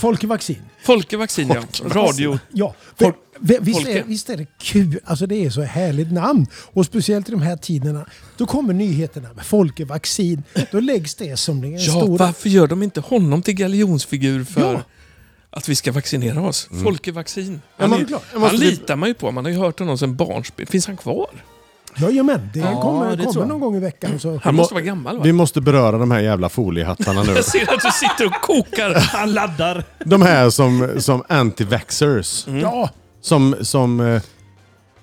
C: Folke,
D: Folke Vaccin.
C: Folke Vaccin, ja. Radio.
D: Ja, för, vi- visst,
C: Folke.
D: är, visst är det kul? Alltså det är så härligt namn. Och speciellt i de här tiderna. Då kommer nyheterna med folkevaccin. Då läggs det som en
C: Ja,
D: stor...
C: varför gör de inte honom till galjonsfigur för
D: Ja.
C: att vi ska vaccinera oss?
A: Mm.
C: Folkevaccin. Han,
A: man-
C: är-
A: klart. Jag
C: han
A: måste-
C: litar man ju på. Man har ju hört honom sedan barnsben. Finns han kvar?
D: Jajamän, det kommer,
E: det tror
D: kommer
E: jag.
D: någon gång i veckan. Så.
C: Han
A: må-
C: måste vara gammal va?
A: vi måste beröra de här jävla foliehattarna nu.
C: Jag ser att du sitter och kokar.
E: Han laddar.
A: De här som, som anti-vaxxers.
C: Mm.
D: Ja,
A: Som, som... eh,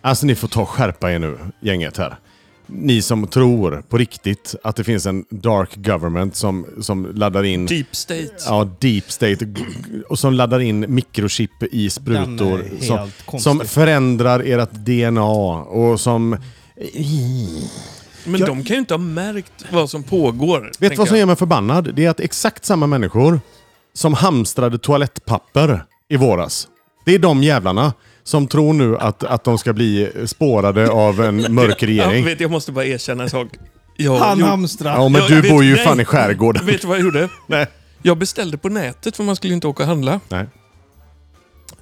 A: Alltså ni får ta och skärpa er nu, gänget här. Ni som tror på riktigt att det finns en dark government som, som laddar in...
C: Deep State.
A: Ja, deep state. Och som laddar in mikrochip i sprutor.
E: helt
A: Som,
E: konstig.
A: som förändrar ert DNA och som...
C: Men de kan ju inte ha märkt vad som pågår.
A: Vet du
C: tänker
A: vad som
C: jag.
A: gör mig förbannad? Det är att exakt samma människor som hamstrade toalettpapper i våras. Det är de jävlarna som tror nu att, att de ska bli spårade av en mörk
C: Ja,
A: regering.
C: vet, jag måste bara erkänna en sak. Jag
E: Han
C: gjorde-
E: hamstrar.
A: Ja, men
C: Jag- jag
A: du
C: vet-
A: bor ju
C: nej.
A: fan i skärgården.
C: Vet du vad jag gjorde?
A: Nej.
C: Jag beställde på nätet för man skulle ju inte åka och handla.
A: Nej.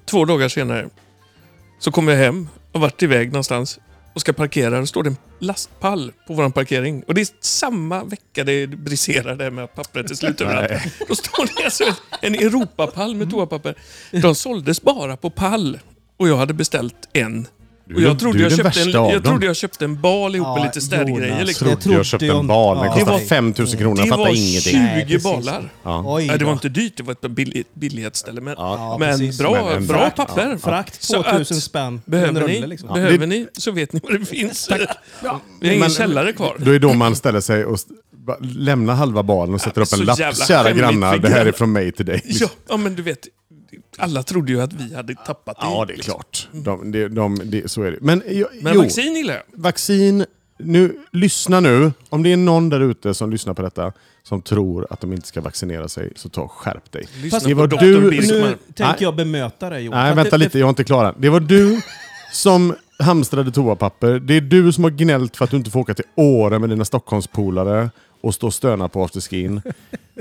C: Två dagar senare så kommer jag hem och varit iväg någonstans och ska parkera. Då står det en lastpall på vår parkering. Och det är samma vecka det briserar det här med att pappret är slut överallt.
A: Nej. Mm.
C: Då står det alltså en Europapall med toapapper. De såldes bara på pall och jag hade beställt en.
A: Du
C: Och
A: är
C: jag
A: den-
C: trodde,
A: du är
C: jag
A: den
C: köpte, en,
A: värsta av
C: jag
A: dem.
C: trodde jag köpte en bal ihop med
E: Ja,
C: lite städgrejer.
E: Jonas.
C: Liksom.
A: Trodde jag
E: trodde
A: köpte
E: jag
A: en
E: inte.
A: bal, den
E: Ja.
A: kostar
E: Det var-
A: 5000 kronor,
C: Det
A: jag fattar
C: var
A: ingenting.
C: 20
E: precis.
C: balar.
A: Ja.
E: Oj
C: Nej, det var
E: då.
C: inte dyrt, det var ett billigt, billighetsställe. Men,
A: Ja,
C: men
E: precis.
C: bra,
A: Men en
C: bra
A: frakt,
C: papper.
E: Frakt
C: Så att-
E: 2000 spänn. för en
C: Behöver
E: rulle,
C: ni,
E: liksom.
C: behöver
A: Det-
C: ni så vet ni vad det finns. Vi har ingen
A: Men-
C: källare kvar.
A: Då är då man ställer sig och st- ba- lämnar halva balen och sätter upp
C: så
A: en lapp.
C: jävla
A: Kära
C: skämmigt
A: grannar,
C: för
A: det här är
C: grannar."
A: från mig till dig.
C: Ja, ja, men du vet. Alla trodde ju att vi hade tappat
A: Ja, det är
C: liksom.
A: klart. De, de, de, det- så är det. Men, jo,
C: Men
A: jo,
C: vaccin gillar jag.
A: vaccin, nu, lyssna nu. Om det är någon där ute som lyssnar på detta som tror att de inte ska vaccinera sig, så ta och skärp dig.
C: Lyssna
A: det
C: på
A: var
C: Dr.
A: du...
C: Birkman.
A: Nu, nej,
E: Tänker jag bemöta dig Johan.
A: nej,
E: Att
A: vänta
E: det-
A: lite. Jag är inte klar än. Det var du som hamstrade toapapper. Det är du som har gnällt för att du inte får åka till Åre med dina Stockholmspolare och stå och stöna på afterskin.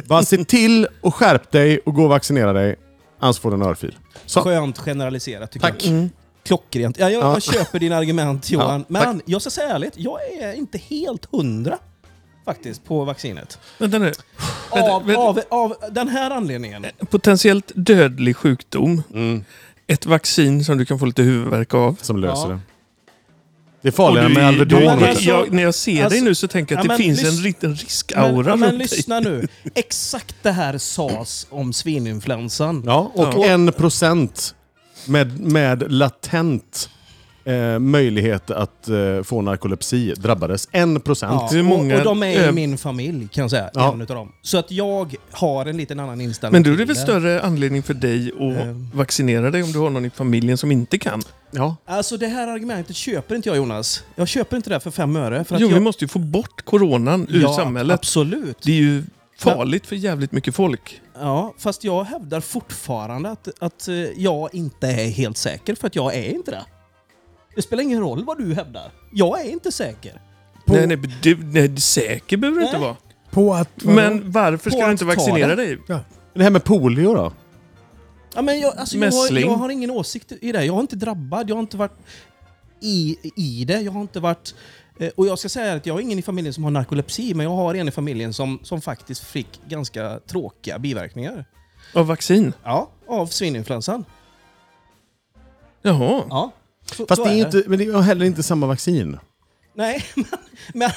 A: Bara se till och skärp dig och gå och vaccinera dig. Annars får du en örfil. Så,
E: Skönt Mm. generaliserat tycker
A: Tack.
E: jag. Klockrent. Ja, jag,
A: Ja.
E: jag köper dina argument Johan.
A: Ja,
E: men jag ska säga ärligt, jag är inte helt hundra faktiskt på vaccinet.
C: Vänta nu. Vänta,
E: Av,
C: vänta.
E: av, av den här anledningen.
C: Potentiellt dödlig sjukdom.
A: Mm.
C: Ett vaccin som du kan få lite huvudvärk av.
A: som löser
E: Ja.
A: det. Det är
C: Och
A: farligare
C: du
A: med
C: är-
A: Alvedon.
C: du-
E: men
A: vet du.
E: alltså-
C: jag, när jag ser dig
E: alltså-
C: nu så tänker jag att
E: Ja,
C: det
E: men
C: finns en
E: lys-
C: liten
E: Men,
C: riskaura
E: ja, men
C: runt dig.
E: lyssna nu. Exakt det här sades om svininfluensan.
A: Ja, och en procent med, med latent eh, möjlighet att eh, få narkolepsi drabbades. En procent.
E: Ja,
C: det är många-
E: och, och de är
C: eh,
E: i min familj kan jag säga.
A: Ja.
E: En utav dem. Så att jag har en liten annan inställning.
C: Men du, det är
E: till
C: väl större anledning för dig att
E: Ehm.
C: vaccinera dig om du har någon i familjen som inte kan?
A: Ja.
E: Alltså det här argumentet köper inte jag Jonas. Jag köper inte det här för fem öre. För att
C: Jo,
E: jag,
C: vi måste ju få bort coronan ur
E: ja,
C: samhället.
E: Absolut.
C: Det är ju farligt för jävligt mycket folk.
E: Ja, fast jag hävdar fortfarande att, att eh, jag inte är helt säker, för att jag är inte det. Det spelar ingen roll vad du hävdar. Jag är inte säker.
D: på,
C: Nej, nej, du, nej, du- säker behöver du inte
E: Nej.
C: vara.
D: på att...
C: Men varför
E: På
C: ska du inte
E: att ta den.
C: vaccinera dig?
A: Det här med polio då?
E: Ja, men jag, alltså, jag, har,
C: Mässling.
E: jag har ingen åsikt i det. Jag har inte drabbad, jag har inte varit i, i det. Jag har inte varit... eh, Och jag ska säga att jag har ingen i familjen som har narkolepsi, men jag har en i familjen som, som faktiskt fick ganska tråkiga biverkningar.
C: Av vaccin?
E: Ja, av svininfluensan.
C: Jaha.
E: Ja. Så,
A: Fast
E: så
A: det är,
E: det.
A: inte, men det är heller inte samma vaccin.
E: Nej, men, men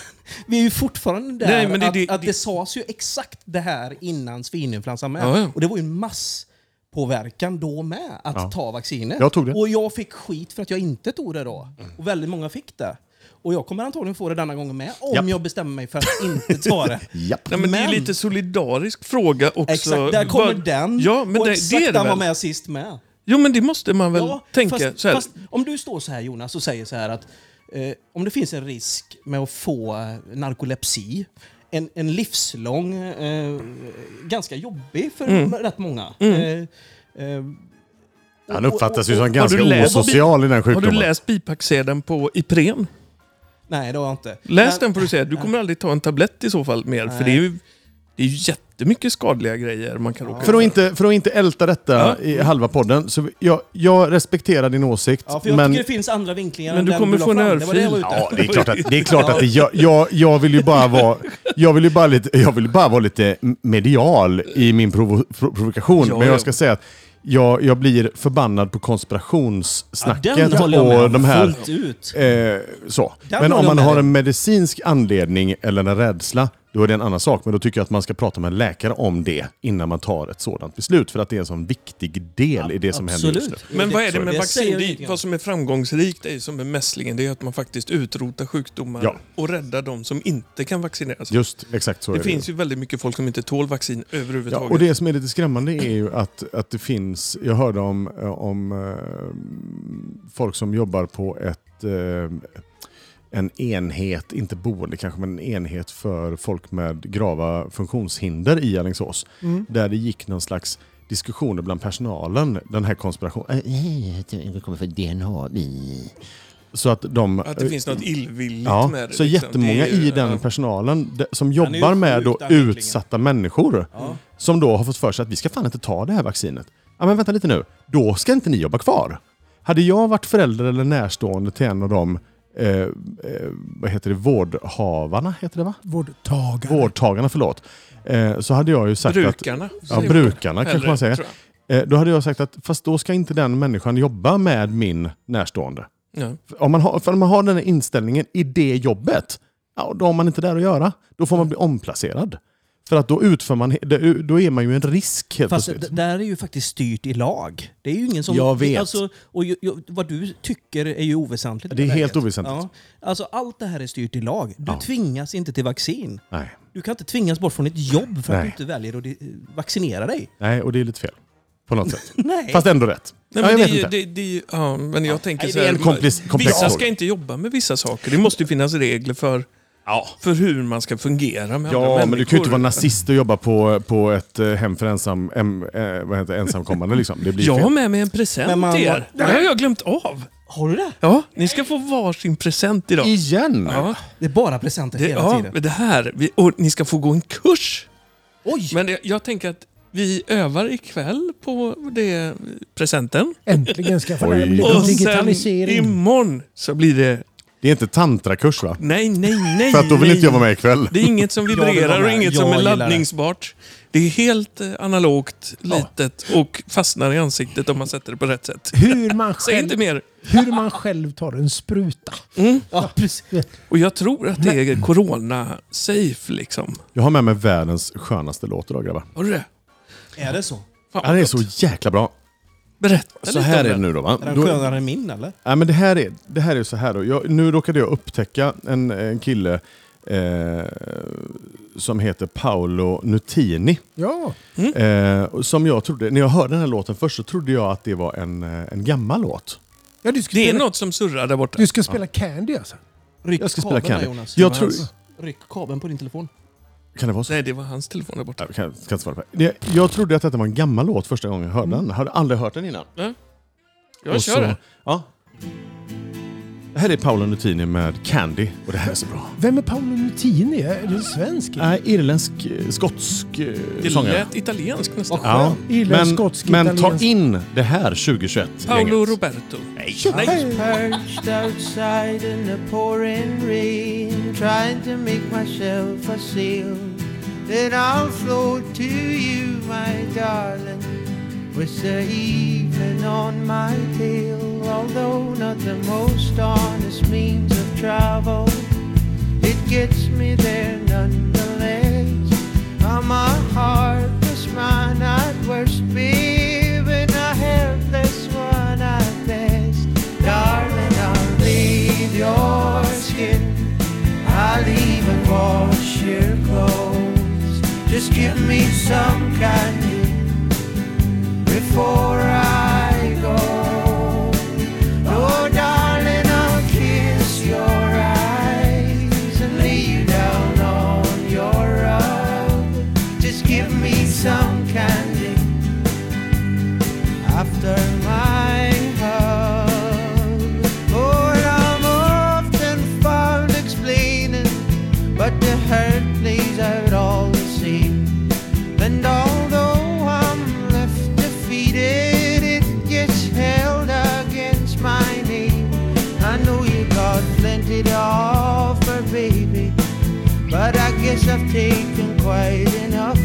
E: vi är ju fortfarande där
C: Nej, men det-
E: att,
C: det-
E: att det
C: det-
E: sades ju exakt det här innan svininfluensan med.
C: Ja, ja.
E: Och det var ju en masspåverkan då med att
A: Ja.
E: ta vaccinet.
A: Jag tog det. Mm.
E: Och jag fick skit för att jag inte tog det då. Och väldigt många fick det. Och jag kommer antagligen få det denna gången med om
A: Japp.
E: jag bestämmer mig för att inte ta det.
A: Japp.
C: Nej, men, det är ju
E: men-
C: lite solidarisk fråga också.
E: Exakt, där kommer
C: Vad-
E: den.
C: Ja, men
E: och
C: det,
E: exakt
C: det är det
E: den var
C: väl?
E: med sist med.
C: Jo, men det måste man väl
E: Ja,
C: tänka.
E: fast,
C: så här.
E: fast om du står så här Jonas och säger så här att eh, om det finns en risk med att få eh, narkolepsi, en, en livslång, eh, ganska jobbig för
C: Mm.
E: rätt många. Eh, eh,
A: Han
E: och-
A: uppfattas
E: och-
A: ju
E: och-
A: som ganska
C: du läst-
A: osocial i den
C: Har du
A: sjukdomen.
C: läst bipacksedeln på Ipren?
E: Nej, det har jag inte. Men-
C: Läs den får du se. Du kommer aldrig ta en tablett i så fall mer. För det är ju, det är ju jättemycket skadliga grejer man kan råka ut
A: För att, inte, för att inte älta detta i halva podden, så jag, jag respekterar din åsikt,
E: Ja, för jag
A: men...
E: tycker det finns andra vinklingar
C: Men
E: än
C: du
E: den
C: kommer
E: la
C: få en
E: fram. Det var det jag var
C: örfil.
E: ute
A: Ja, det är klart att det, är klart att det jag, jag, jag vill ju bara vara... Jag vill ju bara, lite, jag vill ju bara vara lite medial i min provo, pro, provokation,
C: Ja,
A: men
C: ja.
A: jag ska säga att jag, jag blir förbannad på konspirationssnacket
E: Den håller jag med
A: och
E: om
A: de här...
E: fullt ut.
A: Eh, så.
E: Där
A: Men
E: håller
A: om
E: jag
A: man
E: med
A: har
E: dig.
A: en medicinsk anledning eller en rädsla, då är det en annan sak. Men då tycker jag att man ska prata med en läkare om det innan man tar ett sådant beslut. För att det är en sån viktig del i det som händer just nu.
E: Absolut.
C: Men vad är det med
E: Jag
C: vaccin?
E: säger
C: Det är,
E: ingenting
C: ju- vad som är framgångsrikt är ju som med mässlingen, det är att man faktiskt utrotar sjukdomar
A: Ja.
C: och räddar de som inte kan vaccineras.
A: Just exakt så är
C: det
A: ju.
C: finns ju väldigt mycket folk som inte tål vaccin
A: Ja,
C: överhuvudtaget.
A: och det som är lite skrämmande är ju att, att det finns, jag hörde om, eh, om eh, folk som jobbar på ett, eh, en enhet, inte boende kanske, men en enhet för folk med grava funktionshinder i Alingsås. Där det gick någon slags diskussioner bland personalen, den här konspirationen.
H: Det kommer från DNA. Vi...
A: Så att de...
C: Att det finns något illvilligt
A: Ja,
C: med det.
A: så
C: liksom.
A: jättemånga
C: Det är ju-
A: i den
C: ja.
A: personalen de- som
E: är ju
A: jobbar med
E: sjukt,
A: då
E: den vinklingen.
A: utsatta människor som då har fått för sig att vi ska fan inte ta det här vaccinet. Ja men vänta lite nu, då ska inte ni jobba kvar. Hade jag varit förälder eller närstående till en av de eh, eh, vad heter det, vårdhavarna, heter det va?
D: Vårdtagare.
A: Vårdtagarna, förlåt. Eh, så hade jag ju sagt att...
C: Brukarna.
A: Ja,
C: säger
A: brukarna kanske
C: Eller,
A: man säger.
C: tror
A: Eh, då hade jag sagt att fast då ska inte den människan jobba med min närstående.
C: jag. Ja.
A: Om man, har, för om man har den här inställningen i det jobbet, ja, då har man inte där att göra. Då får man bli omplacerad. För att då utför man, då är man ju en risk helt
E: Fast d-
A: plötsligt.
E: där är ju faktiskt styrt i lag. Det är ju ingen som...
A: Jag vet.
E: Alltså, och ju, ju, vad du tycker är ju oväsentligt. i
A: Det är
E: läget.
A: helt oväsentligt.
E: Ja. Alltså, allt det här är styrt i lag. Du
A: Ja.
E: tvingas inte till vaccin.
A: Nej.
E: Du kan inte tvingas bort från ett jobb för att du
A: Nej.
E: inte väljer att di- vaccinera dig.
A: Nej, och det är lite fel. På något sätt.
E: Nej.
A: Fast ändå rätt.
C: Nej,
A: ja,
C: men
A: jag vet
C: det, är ju-
A: inte.
C: det, det, är ju- ja, men jag tänker
A: Nej,
C: så
A: det är
C: här,
A: en komplex- komplex
C: vissa ska
A: fråga.
C: inte jobba med vissa saker. Det måste ju finnas regler för, för hur man ska fungera med andra
A: Ja, men du kan ju inte
C: människor.
A: vara nazist och jobba på, på ett eh, hem för ensam, em, eh, vad heter, det, ensamkommande. Liksom. Det blir
C: Jag har
A: fel.
C: med mig en present
E: Men man-
C: till er. Det har jag glömt av.
E: Har du det?
C: Ja, ni ska få varsin present idag.
A: Igen!
C: Ja,
E: Det är bara presenter
C: det,
E: hela
C: ja,
E: tiden.
C: men det här. Vi, och ni ska få gå en kurs.
E: Oj!
C: Men det, jag tänker att vi övar ikväll på det presenten.
D: Äntligen ska jag få lära mig lite om
C: Och sen
D: digitalisering.
C: imorgon så blir det...
A: Det är inte tantrakurs va?
C: Nej, nej, nej.
A: För att då vill
C: nej.
A: inte jag vara med ikväll.
C: Det är inget som
E: vill vara
C: vibrerar och
E: med.
C: inget
E: Jag
C: som är
E: gillar det.
C: laddningsbart. Det är helt eh, analogt, litet och fastnar i ansiktet om man sätter det på rätt sätt.
D: Hur man,
C: Säg inte
D: själv,
C: mer.
D: hur man själv tar en spruta.
E: Ja, precis.
C: Och jag tror att det är corona-safe liksom.
A: Jag har med mig världens skönaste låt idag grabbar.
C: Har du det?
E: Är det så?
C: Fan,
A: Den är så jäkla bra.
C: Berätta
A: Så
C: lite
A: här
C: om
A: är det
C: den.
A: nu då va?
E: Är den
A: Då-
E: skönare än min eller?
A: Nej, men det här är, det här är så här då. Jag, nu råkade jag upptäcka en, en kille eh, som heter Paolo Nutini.
D: Ja,
C: Mm.
A: Eh, och som jag trodde, när jag hörde den här låten först så trodde jag att det var en, eh, en gammal låt.
D: ja du, ska
C: Det är
D: spela,
C: något som surrar där borta.
D: du ska spela Candy alltså?
E: Ryck
A: Jag ska spela
E: kabeln där,
A: Candy.
E: Jonas.
A: Jag tror,
E: Ryck kabeln på din telefon.
A: kan det vara så?
C: Nej, det var hans telefon där borta.
A: Jag kan, kan inte svara på det. det. Jag trodde att detta var en gammal låt första gången jag hörde den. Hade aldrig hört den innan.
C: Jag
A: Och
C: Mm. kör
A: så-
C: det.
A: Ja. Det här är Paolo Nutini med Candy och det här är så
C: Mm.
A: bra.
D: Vem är Paolo Nutini? Är det en svensk?
A: Nej, irländsk, eh, skotsk eh,
C: Det
A: sångare.
C: lät italienskt nästan.
A: Ja,
D: Irländsk, skotsk,
A: men ta
D: italiensk.
A: in det här 2021.
C: Paolo
A: gänget.
C: Roberto.
A: Nej.
C: Nej.
F: perched outside in the pouring rain, trying to make myself a sail. Then I'll float to you, my darling, with the evening on my tail. Although not the most honest means of travel, it gets me there nonetheless. I'm a heartless man at worst, babe, and a helpless one at best. Darling, I'll bathe your skin. I'll even wash your clothes. Just give me some candy before I go. Oh, darling, I'll kiss your But I guess I've taken quite enough.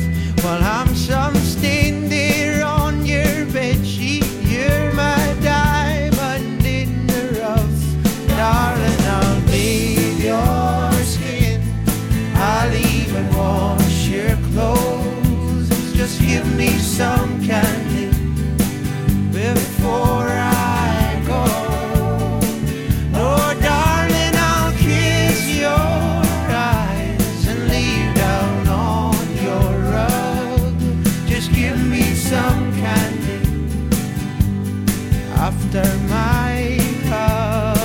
F: While I'm some stain there on your bed sheet, you're my diamond in the rough. Darling, I'll bathe your skin. I'll even wash your clothes. Just give me some candy before I go. Oh, darling, I'll kiss your eyes and leave down on your rug. Just give me some candy after my hug.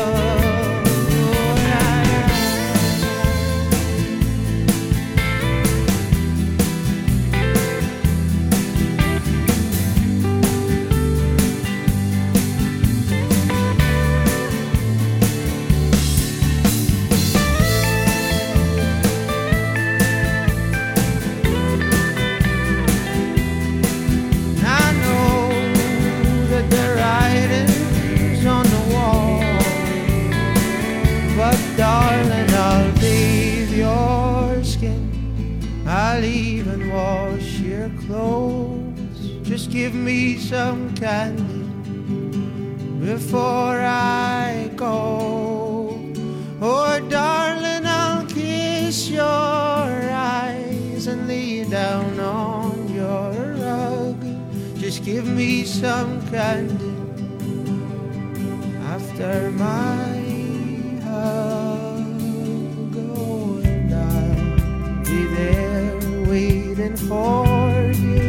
F: I know that the writing's on the wall, but darling, I'll leave your skin. I'll even wash your clothes. Just give me some candy before I go. Oh, darling, I'll kiss your eyes and lay down on your rug. Just give me some candy after my hug. Oh, and I'll be there waiting for you.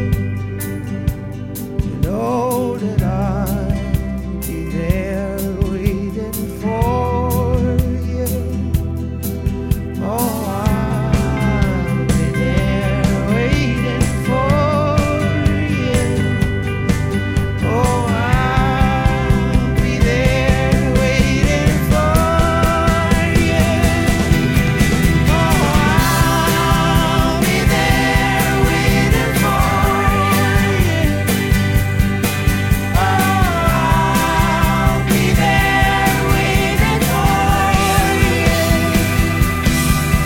F: You know that I'll be there waiting for you. Oh, I'll be there waiting for you. Oh, I'll be there waiting for you. Oh, I'll be there waiting for you. Oh, I'll be there waiting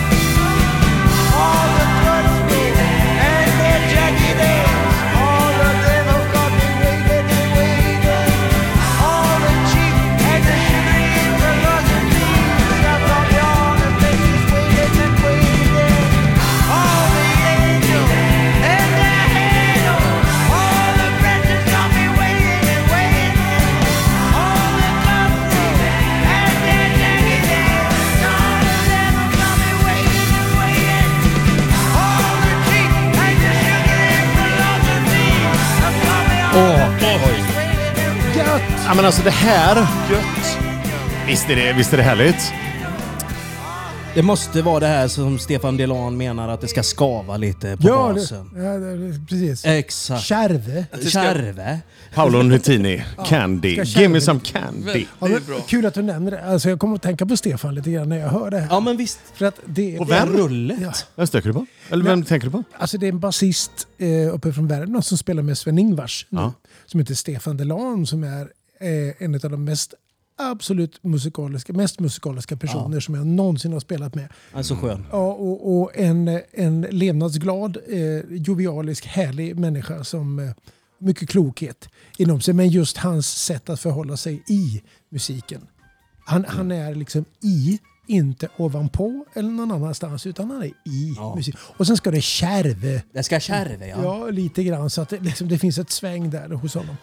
F: for All the Dutchmen and the Jackie Danes, all the devil got me waiting and waiting. All the cheap and the shimmery and the buzzing thieves have got me on the faces waiting and waiting. All the angels and the angels, all the princes got me waiting and waiting. All the Dutchmen and the Jackie Danes, all the devil got me waiting and waiting. All the cheap and the shimmery and the buzzing thieves have got me on the faces waiting and waiting.
A: Ja, men alltså det här... Visst är det, visst är det härligt?
E: Det måste vara det här som Stefan Delan menar, att det ska skava lite på
D: Ja, det,
E: basen.
D: ja det, precis.
E: Äh, Exakt.
D: Kärve.
E: Kärve.
A: Paolo Nutini, Candy.
D: Ska
A: Give me
D: kärlek-
A: some candy.
D: Ja,
C: Det är
D: men,
C: bra.
D: kul att du nämner det. Alltså, jag kommer att tänka på Stefan lite grann när jag hör det här.
E: Ja men visst.
D: För att det,
A: Och vem?
E: Rullet.
D: Ja.
A: Vem stöker du på? Eller vem
D: Nej.
A: tänker du på?
D: Alltså det är en basist eh, uppe från Värmland som spelar med Sven-Ingvars nu.
A: Ja.
D: Som heter Stefan Delan som är eh, en av de mest absolut musikaliska, mest musikaliska personer som jag någonsin har spelat med.
E: Alltså skön.
D: Ja, och, och en, eh, en levnadsglad, eh, jovialisk, härlig människa som eh, mycket klokhet inom sig. Men just hans sätt att förhålla sig i musiken. Han,
A: Mm.
D: han är liksom i, inte ovanpå eller någon annanstans, utan han är i
E: Ja.
D: musik. Och sen ska det kärve.
E: Det ska kärve ja.
D: Ja, lite grann. Så att det, liksom, det finns ett sväng där hos honom.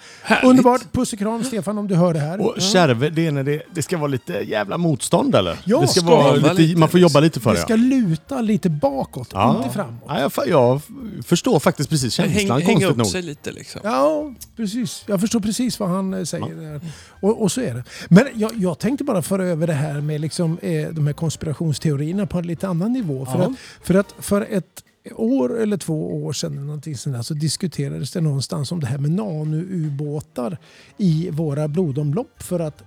D: Underbart! Puss och kram Stefan om du hör det här.
A: Och kärve, det är när det, det ska vara lite jävla motstånd eller?
D: Ja,
A: det ska
D: skava
A: vara
C: lite.
A: lite, man får jobba lite för
D: Det
A: det.
D: ska luta lite bakåt,
A: ja.
D: inte framåt.
A: Ja, jag, fa- jag f- förstår faktiskt precis
C: Häng,
A: känslan,
C: hänga
A: konstigt
C: upp
A: nog.
C: sig lite liksom.
D: Ja, precis. Jag förstår precis vad han eh, säger. Där. Och, och så är det. Men jag, jag tänkte bara föra över det här med liksom, eh, de här konspirationsteorierna på en lite annan nivå. För,
E: Ja.
D: att, för att för ett år eller två år sedan eller någonting sånt där, så diskuterades det någonstans om det här med nano-ubåtar i våra blodomlopp. För att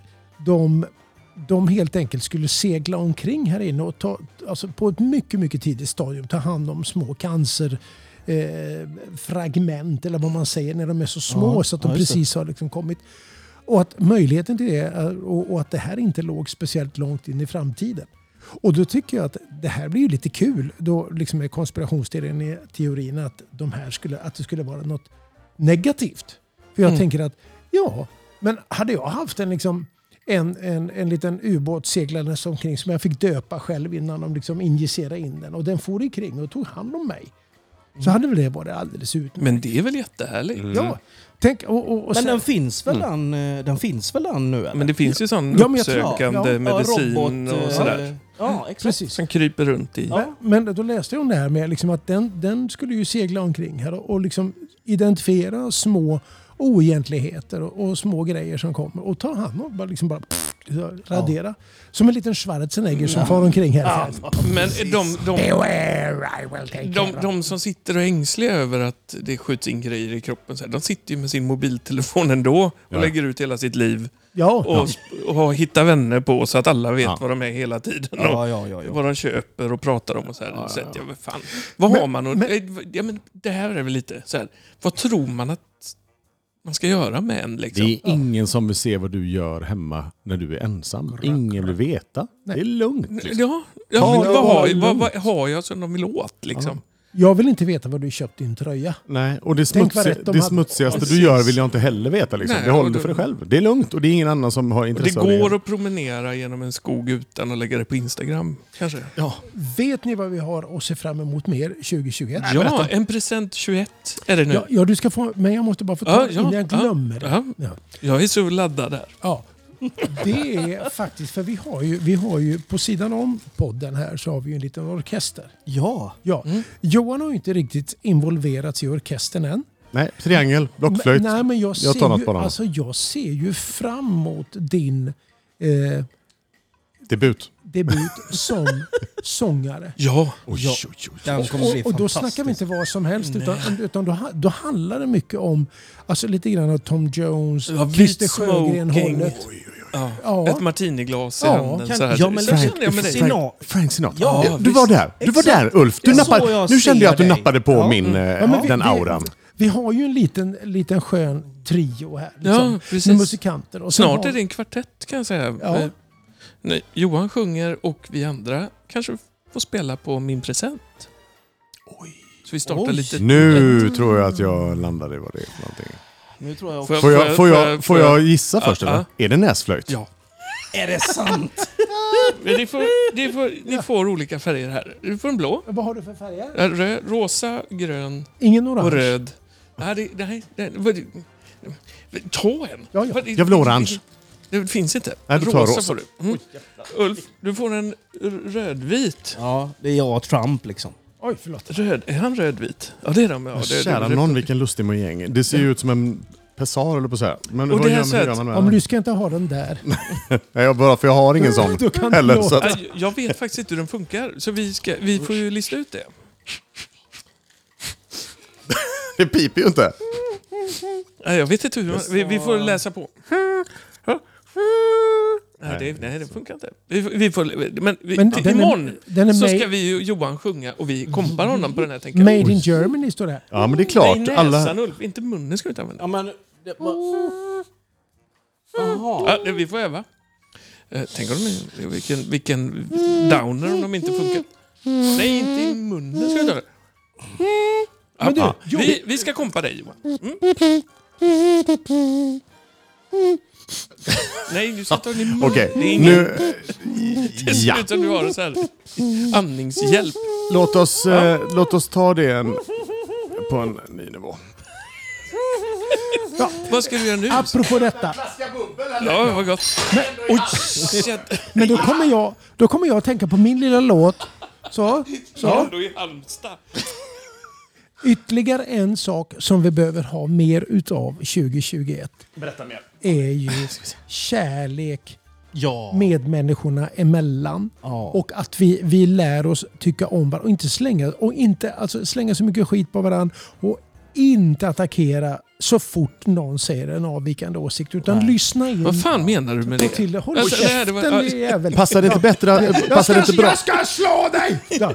D: de, de helt enkelt skulle segla omkring här inne och ta, alltså på ett mycket, mycket tidigt stadium ta hand om små cancer eh, fragment eller vad man säger när de är så små
E: Ja,
D: så att de
E: ja, just det.
D: precis har liksom kommit. eh, Och att möjligheten till det är, och, och att det här inte låg speciellt långt in i framtiden. Och då tycker jag att det här blir ju lite kul. Då liksom med konspirationsteorin i teorin att, de här skulle, att det skulle vara något negativt. För jag
C: Mm.
D: tänker att, ja, men hade jag haft en, liksom, en, en, en liten ubåt seglandes omkring som jag fick döpa själv innan de liksom injicerade in den och den for ikring och tog hand om mig. Så
I: Mm.
D: hade väl det varit alldeles utmärkt.
C: Men det är väl jättehärligt?
A: Mm.
D: Ja, tänk, och, och, och
I: Men
D: sen,
I: den finns väl den, eh, den finns väl den nu? Eller?
C: Men det finns ju sån
D: Ja, men jag tror- ja,
C: uppsökande
D: ja,
C: medicin
I: eh,
C: och sådär.
I: Ja, exakt.
D: precis.
C: Som kryper runt i.
D: Men- Men då läste jag om det här med liksom att den, den skulle ju segla omkring här och, och liksom identifiera små oegentligheter och, och små grejer som kommer och ta hand om bara liksom bara pff, så, radera. Som en liten Schwarzenegger som far omkring här.
C: Men de, de,
D: Beware, I will take
C: de,
D: care of-
C: de som sitter och är ängsliga över att det skjuts in grejer i kroppen, så här, de sitter ju med sin mobiltelefon ändå och
A: Ja.
C: lägger ut hela sitt liv.
D: Ja,
C: Och, och har- hittar vänner på så att alla vet
A: Ja.
C: vad de är hela tiden. Och,
I: Ja, ja, ja, ja.
C: vad de köper och pratar om och så här. så att, ja, men fan, vad har man? Och, eh, ja, men det här är väl lite så här, vad tror man att man ska göra med en
A: Det
C: liksom?
A: är ingen som vill se vad du gör hemma när du är ensam. Ingen vill veta. Det är lugnt. Liksom.
C: Ja, ja
A: Ta
C: men
A: det
C: vad,
A: bara
C: har, vad,
A: lugnt.
C: vad har jag som de vill åt liksom?
D: jag vill inte veta vad du köpt din tröja.
A: Nej, och det,
D: Tänk vad
A: smutsi-
D: rätt de
A: det
D: hade.
A: smutsigaste
C: Precis.
A: du gör vill jag inte heller veta. Liksom.
C: Nej,
A: det
C: och
A: håller
C: då-
A: du för dig själv. Det är lugnt och det är ingen annan som har
C: Och det
A: intresse av
C: går att promenera genom en skog utan att lägga det på Instagram kanske? Ja,
D: Vet ni vad vi har att se fram emot mer 2021?
C: ja en present 21 är det nu.
D: Ja,
C: Ja,
D: ja, du ska få, men jag måste bara få ta
C: Ja,
D: det
C: ja,
D: innan jag
C: ja.
D: glömmer det. Ja.
C: jag är så laddad där.
D: Ja, det är faktiskt, för vi har, ju, vi har ju på sidan om podden här så har vi ju en liten orkester.
I: Ja.
D: Ja.
C: Mm.
D: Johan har ju inte riktigt involverats i orkestern än.
A: Nej, triangel, blockflöjt.
D: Men, nej, men jag,
A: Jag
D: ser
A: tar något
D: ju,
A: bara.
D: alltså, jag ser ju fram emot din eh,
A: Debut.
D: debut som sångare.
C: Ja,
A: Oj,
I: Ja.
A: oj, oj.
I: Den kommer bli
D: Och, och då
I: fantastisk.
D: snackar vi inte vad som helst utan, utan då, ha- då handlar det mycket om alltså, lite grann av Tom Jones,
C: Ja, vit
D: Christer Sjögren-hållet.
C: smoking. Ja.
D: Ja.
C: Ett martiniglas i
D: Ja,
C: handen
I: kan-
C: så här.
I: ja, men
C: Så
I: det
C: känner jag med dig.
I: Sina-
A: Frank Sinatra.
I: Ja,
A: Ja, du
I: visst.
A: var där. Du var
I: Exakt.
A: där Ulf. Du
I: Det är så
A: nappade,
I: jag
A: nu kände jag att du
I: ser dig.
A: nappade på
I: Ja.
A: min, eh,
D: Ja, men vi-
A: den
D: vi-
A: auran.
D: Vi har ju en liten, liten skön trio här. Liksom,
C: Ja, precis.
D: med musikanter. Och sen
C: Snart
D: har-
C: är det en kvartett kan jag säga.
D: Ja.
C: Eh, Nej, Johan sjunger och vi andra kanske får spela på min present. Oj. Så vi startar
I: Oj.
C: lite...
A: Nu tror jag att jag landade i vad det är för någonting.
I: Nu tror jag
A: Får jag, får jag, får jag gissa först
C: Ja,
A: eller? Är det näsflöjt?
C: Ja.
I: Är det sant?
C: Men ni, får, ni, får, ni får olika färger här. Du får en blå,
D: Vad har du för färger?
C: eh, rö, rosa, grön
D: Ingen
C: och
D: orange.
C: röd. Nej, det, nej, nej, vad, ta en!
D: Ja, ja.
C: Vad-
A: Jag vill ha orange.
C: Det, det finns inte.
A: Nej, då tar jag rosa.
C: får du. Mm. Ulf, du får en r- rödvit.
I: Ja, det är jag och Trump liksom.
D: Oj, förlåt.
C: Röd, är han rödvit? Ja, det är de. Ja, det, det-
A: Kära
C: det-
A: någon vilken lustig mojäng. Det ser ju ut som en pessar eller på så här. Men
C: Och
A: vad
C: det här
A: gör man, hur
C: sätt-
A: gör man med
D: Om
A: den?
D: du ska inte ha den där.
A: Nej, jag bara, för jag har ingen sån
D: Du kan
A: heller.
D: inte
A: Så att,
C: Nej, Jag vet faktiskt inte hur den funkar, så vi, ska, vi får ju lista ut det.
A: det piper ju inte.
C: Nej, Jag vet inte hur man, vi, vi får läsa på. Nej, det, nej, det funkar inte. Vi, vi får, men vi,
D: Men
C: till,
D: den är-
C: imorgon
D: den är
C: så
D: made-
C: ska vi ju Johan sjunga och vi kompar honom på den här. Tänker jag.
D: Made in Germany står det här.
A: Ja, men det är
C: Nej,
A: klart.
C: näsan
A: Alla...
C: Ulf. Inte munnen ska vi inte använda.
I: Ja, men... Det, ma- Jaha.
C: Ja, det- vi får öva. Eh, Tänk om de, vilken, vilken downer om de inte funkar. Nej, inte i munnen ska vi inte göra.
D: Men du,
C: Ja,
D: jo,
C: vi, vi ska kompa dig Johan. Mm. Nej, du ska ta den i munnen.
A: Okej,
C: Det är ingen-
A: nu...
C: Det ser
A: Ja.
C: ut som du har en så här andningshjälp.
A: Låt oss, eh, låt oss ta det en, på en ny nivå.
C: Vad ska du göra nu?
D: apropå detta.
C: Ja, vad gott. Oj, shit.
D: Men då kommer, jag, då kommer jag att tänka på min lilla låt. Så, så.
C: Ändå i Halmstad.
D: Ytterligare en sak som vi behöver ha mer utav 2021. Berätta mer. Är ju kärlek
I: Ja.
D: medmänniskorna emellan. Och att vi, vi lär oss tycka om varandra och inte slänga, och inte, alltså, slänga så mycket skit på varandra. Och inte attackera så fort någon säger en avvikande åsikt. Utan lyssna in.
C: Vad fan menar du med
D: Ta
C: det?
D: till, håll
C: Alltså, det här, det
D: käften
C: var-
D: det jävel.
A: Passar det inte bättre... att- eh, Passar det inte bra,
D: ska slå dig! Ja.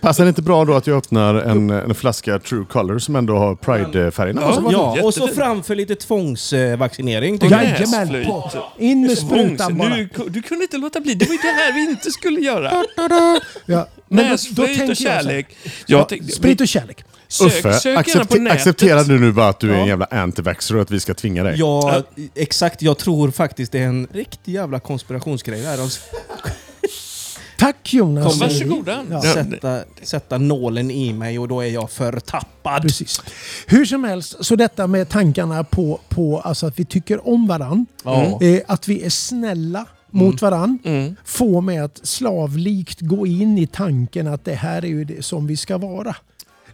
A: passar det inte bra då att jag öppnar en, en flaska True Color som ändå har Pride-färgerna?
C: Ja.
A: Ja.
I: Ja, och så
C: Jättefint.
I: framför lite tvångsvaccinering. tycker jag.
D: Jajamän!
C: Gräsflöjt.
D: Patrik. In med sprutan bara.
C: Nu, du kunde inte låta bli. Det var ju det här vi inte skulle göra.
D: Ja. Men då, då
C: Näsflöjt
D: tänker
C: och
D: jag så här.
C: kärlek. Jag
D: Ja,
C: tänkte-
D: Sprit och kärlek.
C: Sök,
A: Uffe,
C: sök gärna på
A: accepte-
C: nätet.
A: accepterar du nu bara att du är en jävla antivaxxer och att vi ska tvinga dig?
I: Ja, exakt. Jag tror faktiskt det är en riktig jävla konspirationsgrej Alltså, där. De ska
D: Tack Jonas.
I: Kom,
C: Varsågoda.
D: Mm. Ja.
C: Ja.
I: sätta, sätta nålen i mig och då är jag förtappad.
D: Precis. Hur som helst, så detta med tankarna på, på alltså att vi tycker om varann.
I: Ja.
D: Eh, att vi är snälla mot varann. Få mig att slavlikt gå in i tanken att det här är ju det som vi ska vara.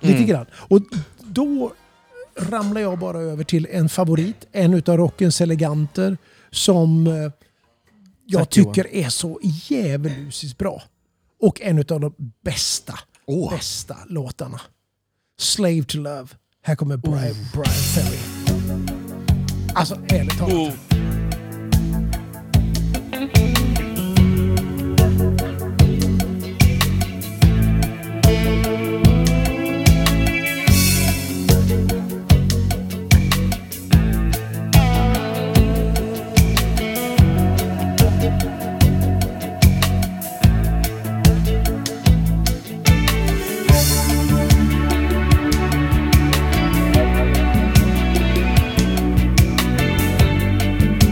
D: Lite grann. Och då ramlar jag bara över till en favorit, en utav rockens eleganter som eh, jag
I: Tack,
D: tycker är så djävulusiskt bra. Och en utav de bästa, bästa låtarna. Slave to Love. Här kommer Brian, Brian Ferry. Alltså, ärligt talat.
C: Oh.
G: Slave Oh,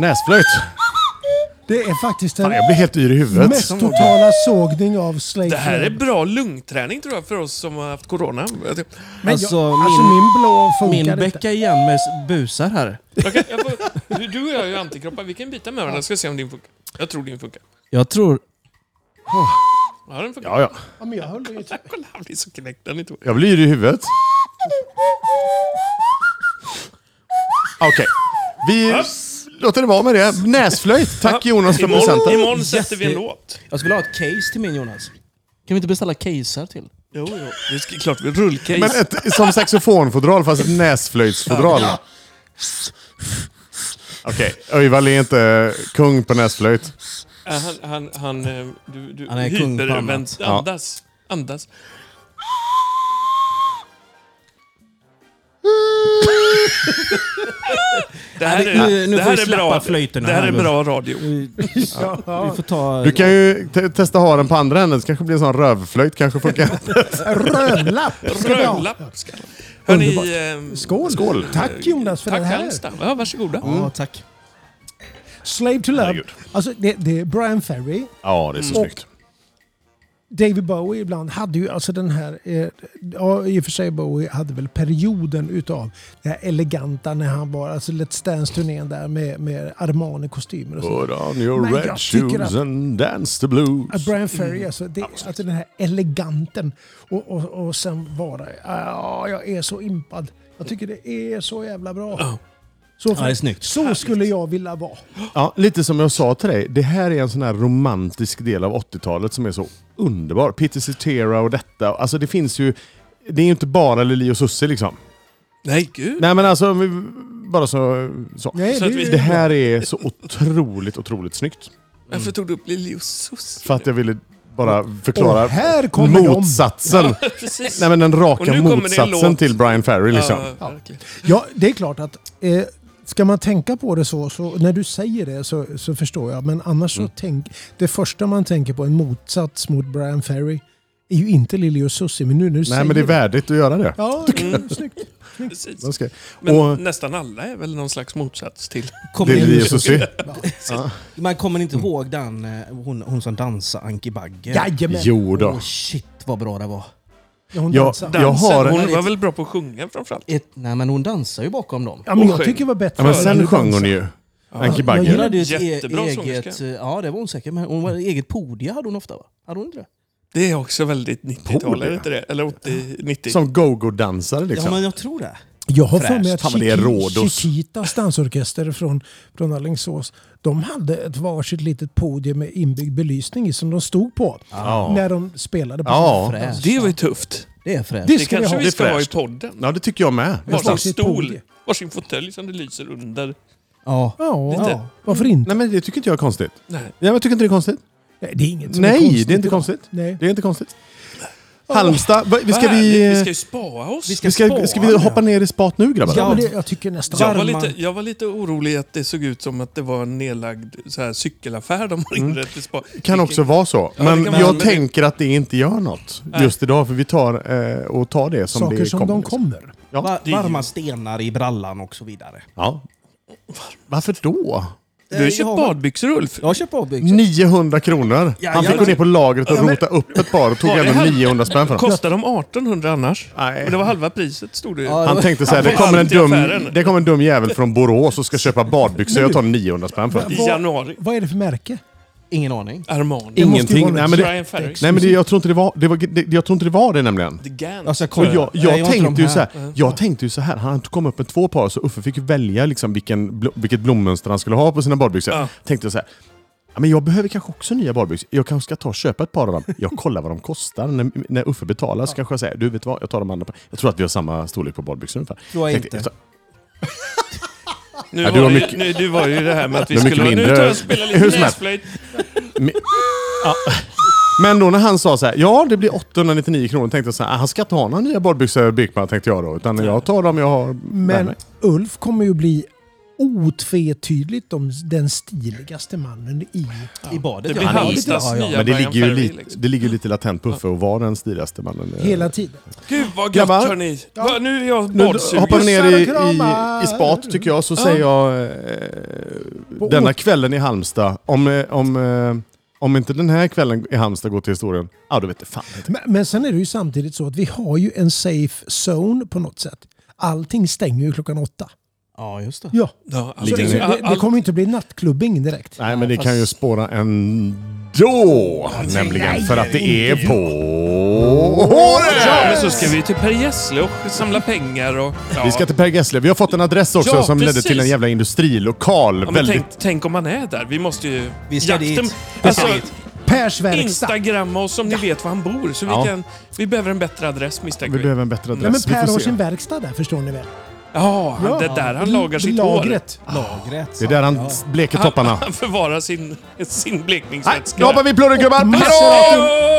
A: Näsflöjt.
D: Det är faktiskt den
A: Fan, jag blir helt yr i huvudet.
D: mest totala sågning av Slave
C: Det här är
D: Flav.
C: bra lungträning tror jag för oss som har haft corona. Jag tycker-
D: Men
I: Alltså,
D: jag, alltså min blå
I: Min
D: funkar inte.
I: bäcka igen med s- busar här.
C: Jag kan, jag får, du- du och jag är ju antikroppar, vi kan byta med varandra. Ska se om din funkar. Jag tror din funkar.
I: Jag tror...
C: Ja, den funkar.
A: Ja, ja.
D: Ja, men jag höll ju inte.
C: Kolla, han blir så knäckt. Den är tok.
A: Jag blir yr i huvudet. Okej. Vi låter det vara med det. Näsflöjt. Tack Jonas för
C: Imorgon,
A: presenten.
C: imorgon sätter vi en låt.
I: Jag skulle ha ett case till min Jonas. Kan vi inte beställa caser till?
C: Jo, jo. Det är klart, vi rullcase.
A: Men ett, som saxofonfodral fast ett näsflöjtsfodral. Okej, Öjvall är inte kung på näsflöjt.
C: Äh, Han, han, han, eh, du, du
I: Han är kung på
C: hypervänt-
I: annat.
A: Ja.
C: Andas. Andas. Det här
I: Ja, nu- nu
C: är, det
I: får vi
C: här är
I: släppa
C: bra.
I: flöjterna
C: Det här
I: här
C: är
I: nu.
C: bra radio.
E: Mm.
I: Vi får ta...
A: Du kan ju te- testa ha den på andra änden, så kanske det blir en sån rövflöjt kanske funkar.
D: Rödlapp ska vi ha.
C: Rödlapp ska Hörni,
D: Underbart.
C: ehm,
D: Skål.
A: Skål.
D: Tack Jonas för
C: tack
D: det här.
C: Halmstad. Ja, varsågoda.
E: Mm.
C: Mm.
I: Ja, tack.
D: Slave to Love.
A: Herregud.
D: Alltså, det, det är Brian Ferry.
A: Ja, det är så snyggt.
D: David Bowie ibland hade ju alltså den här, eh, ja i och för sig Bowie hade väl perioden utav det här eleganta när han var, alltså Let's Dance-turnén där med, med Armani-kostymer och så.
A: Put on your
D: Men jag
A: red
D: tycker
A: shoes
D: att-
A: and dance the blues.
D: Att Brian Ferry, alltså, det, alltså den här eleganten och, och, och sen vara, ja jag är så impad. Jag tycker det är så jävla bra. Så,
I: Ja, det är snyggt.
D: så skulle jag vilja vara.
A: Ja, lite som jag sa till dig, det här är en sån här romantisk del av 80-talet som är så underbar. Peter Cetera och detta. Alltså det finns ju... Det är ju inte bara Lili och Susie liksom.
C: Nej, gud.
A: Nej men alltså, vi, bara så... så.
D: Nej,
C: Så
D: det,
C: att vi-
A: Det här är så otroligt, otroligt snyggt.
C: Varför tog du upp Lili och Susie?
A: För att jag ville bara förklara
D: och här kommer de.
A: motsatsen.
C: Precis.
A: Nej men den
C: Och
A: raka
C: nu kommer det en
A: motsatsen
C: låt.
A: till Brian Ferry liksom.
C: Ja, verkligen.
D: Ja, det är klart att eh, ska man tänka på det så, så när du säger det så, så förstår jag. Men annars så tänk, det första man tänker på, en motsats mot Brian Ferry, är ju inte Lili och Susie. Men nu när du säger
A: Nej men det är värdigt att göra det.
D: Ja, mm. snyggt.
C: Precis.
A: Okej.
C: Men
A: Och
C: nästan alla är väl någon slags motsats till...
I: Kommer
A: Lili
I: ni,
A: och Susie.
I: man kommer inte ihåg den, eh, hon, hon som dansade, Anki Bagge?
D: Jajamän!
A: Jo då.
I: Åh shit vad bra det var.
D: Ja, hon
A: Ja,
D: dansar.
A: Jag har-
C: Hon var väl bra på att sjunga framförallt?
I: Ett, nej men hon dansar ju bakom dem.
D: Ja, men
C: Och
D: jag
C: sjöng.
D: tycker det var bättre
A: Ja, men
D: förr.
A: sen
D: Nu
A: sjöng hon
D: dansar.
A: ju. Anki
D: jag
A: Bagge.
D: gillar
I: hade ju ett
C: Jättebra
I: e- eget,
C: sångerska.
I: Ja det var hon säkert, men hon var eget podie hade hon ofta va? Hade hon inte det?
C: Det är också väldigt 90-tal,
A: Pool,
C: är det
A: ja.
C: inte det? Eller 80, 90?
A: Som go-go-dansare
I: Ja
A: liksom.
I: men jag tror det.
D: Jag har för mig
A: Fräscht.
D: att
A: Fan, vad det är
D: Chiqui-
A: Rhodos.
D: Chiquitas dansorkester från, från Alingsås, de hade ett varsitt litet podium med inbyggd belysning i som de stod på
A: Ja.
D: när de spelade på
A: Ja.
D: sina
I: Fräscht.
C: Det var ju tufft.
I: Det är fräscht.
D: Det
C: Det
D: ska vi
C: kanske
D: ha.
C: vi ska
A: Det är
C: ha i
A: fräscht.
C: podden.
A: Ja, det tycker jag med.
C: Varsin
D: Varsitt
C: stol,
D: podium.
C: varsin fåtölj som det lyser under.
I: Ja.
D: Ja,
C: Lite.
D: varför inte?
A: Nej, men det tycker inte jag är konstigt.
C: Nej.
A: Ja, men tycker inte det är konstigt?
D: Nej, det är inget som är
A: Nej,
D: konstigt
A: det är inte
D: idag.
A: konstigt.
D: Nej.
A: Det är inte konstigt. Halmstad, va- vi ska
C: Vad härligt, vi ska
A: vi...
C: ju spara oss.
A: Vi ska, ska vi hoppa ner i spat nu grabbar?
D: Ja, men det, jag tycker nästan...
C: jag, var
D: Varma-
C: lite, jag var lite orolig att det såg ut som att det var en nedlagd så här, cykelaffär de har inrett i spa.
A: Kan också vara så.
C: det
A: Men
C: kan vara-
A: jag
C: men-
A: tänker att det inte gör något just idag. För vi tar eh, och tar det som
D: saker
A: det
D: som de
A: liksom.
D: kommer.
A: Ja.
I: Va- varma stenar i brallan och så vidare.
A: Ja. Varför då?
C: Du har ju köpt badbyxor Ulf.
I: Jag har köpt
A: Mm.
I: avbyxor.
A: 900 kronor.
I: Ja,
A: Han
I: ja,
A: fick gå
I: ja.
A: ner på lagret och rota upp ett par och tog
C: Var det
A: ändå
C: här?
A: 900 spänn för dem.
C: Kostar de 1800 annars?
A: Nej.
C: Men det var halva priset stod det ju.
I: Ja,
A: Han tänkte så här, det
C: Ja,
A: kommer en
C: allt i
A: dum,
C: affären.
A: det kommer en dum jävel från Borås och ska köpa badbyxor. Jag tar 900 spänn för
C: I
A: det.
D: Vad-
C: januari.
D: Vad är det för märke?
I: Ingen aning.
C: Armani.
A: Ingenting. Nej, men det,
C: Brian Ferry.
A: nej, men det, jag, tror inte det var, det var, det, jag tror inte det var det nämligen.
C: The Gan.
I: Alltså,
A: Och
I: kolla.
A: jag, jag,
I: Nej, har inte de
A: tänkte ju så
I: här.
A: här, jag tänkte ju så här, han kom upp med två par så Uffe fick ju välja liksom vilken, bl- vilket blommönster han skulle ha på sina badbyxor.
C: Ja.
A: Tänkte jag så här, ja, men jag behöver kanske också nya badbyxor. Jag kanske ska ta och köpa ett par av dem. Jag kollar vad de kostar. När, när Uffe betalar så kanske jag säger, du vet vad, jag tar de andra. par." Jag tror att vi har samma storlek på badbyxor ungefär.
I: Tror jag
A: Tänkte-
I: inte.
A: tar-
C: Nu,
A: Ja,
C: var
A: du
C: du,
A: har
C: ju,
A: mycket-
C: nu, du var ju det här med att vi
A: Du har mycket
C: skulle... Nu
A: mindre-
C: tar jag och spelar
A: Hur
C: lite
A: som helst.
C: näsflöjt.
A: Men då när han sa så här, ja det blir 899 kronor, tänkte jag så här, "Ah, han ska inte ha några nya badbyxor Birkman, tänkte jag då. Utan jag tar dem jag har med
D: Men
A: mig.
D: Ulf kommer ju bli otvetydigt de, den stiligaste mannen i...
I: I badet,
C: Det
I: ja.
C: blir
D: Han är-
C: Halmstads
D: ja, ja.
C: nya
A: Men det
C: Brian
A: ligger, ju
C: Ferry,
A: lite,
C: liksom.
A: det ligger ju lite latent på Uffe att vara den stiligaste mannen. eh,
D: Hela tiden.
C: Gud vad gött
A: Grabbar.
C: hörni! Va, nu är jag
A: Nu hoppar vi
C: badsugen.
A: ner i, i,
D: kramar.
A: i spat tycker jag, så säger jag eh, denna kvällen i Halmstad, om, eh, om, eh, om inte den här kvällen i Halmstad går till historien, ja då vet det fan inte.
D: Men, men sen är det ju samtidigt så att vi har ju en safe zone på något sätt. Allting stänger ju klockan åtta.
E: Ja, just det.
D: Ja,
C: Ja,
D: så
C: alltså,
A: Ligger
D: det,
A: ner.
D: det, det kommer ju inte bli nattklubbing direkt.
A: Nej men det kan ju spåra ändå, nämligen för att det är på håret!
C: Ja, men så ska vi till Per Gessle och samla pengar och... Ja.
A: Vi ska till Per Gessle, vi har fått en adress också
C: Ja,
A: som ledde
C: precis.
A: till en jävla industrilokal.
C: Ja, men
A: Väldigt
C: tänk, tänk om man är där. Vi måste ju...
E: Vi ska dit.
D: Vi
C: Alltså,
D: ska dit. Pers verkstad.
C: Instagramma oss om ni vet var han bor. Så
A: Ja.
C: vi, kan, vi behöver en bättre adress misstänker
A: Vi
C: vi.
A: behöver en bättre
D: Nej, men
A: adress.
D: Per
A: vi
D: har
A: får se.
D: sin verkstad där förstår ni väl?
C: Ja, han, det är där han lagar sitt
D: Lagret. hår.
A: Det är där han bleker
C: hår.
A: topparna.
C: Han förvarar sin, sin
A: Nej,
C: blekningsvätska.
A: nu hoppar vi plurrgubbar!
D: Maserati.
A: Hallå!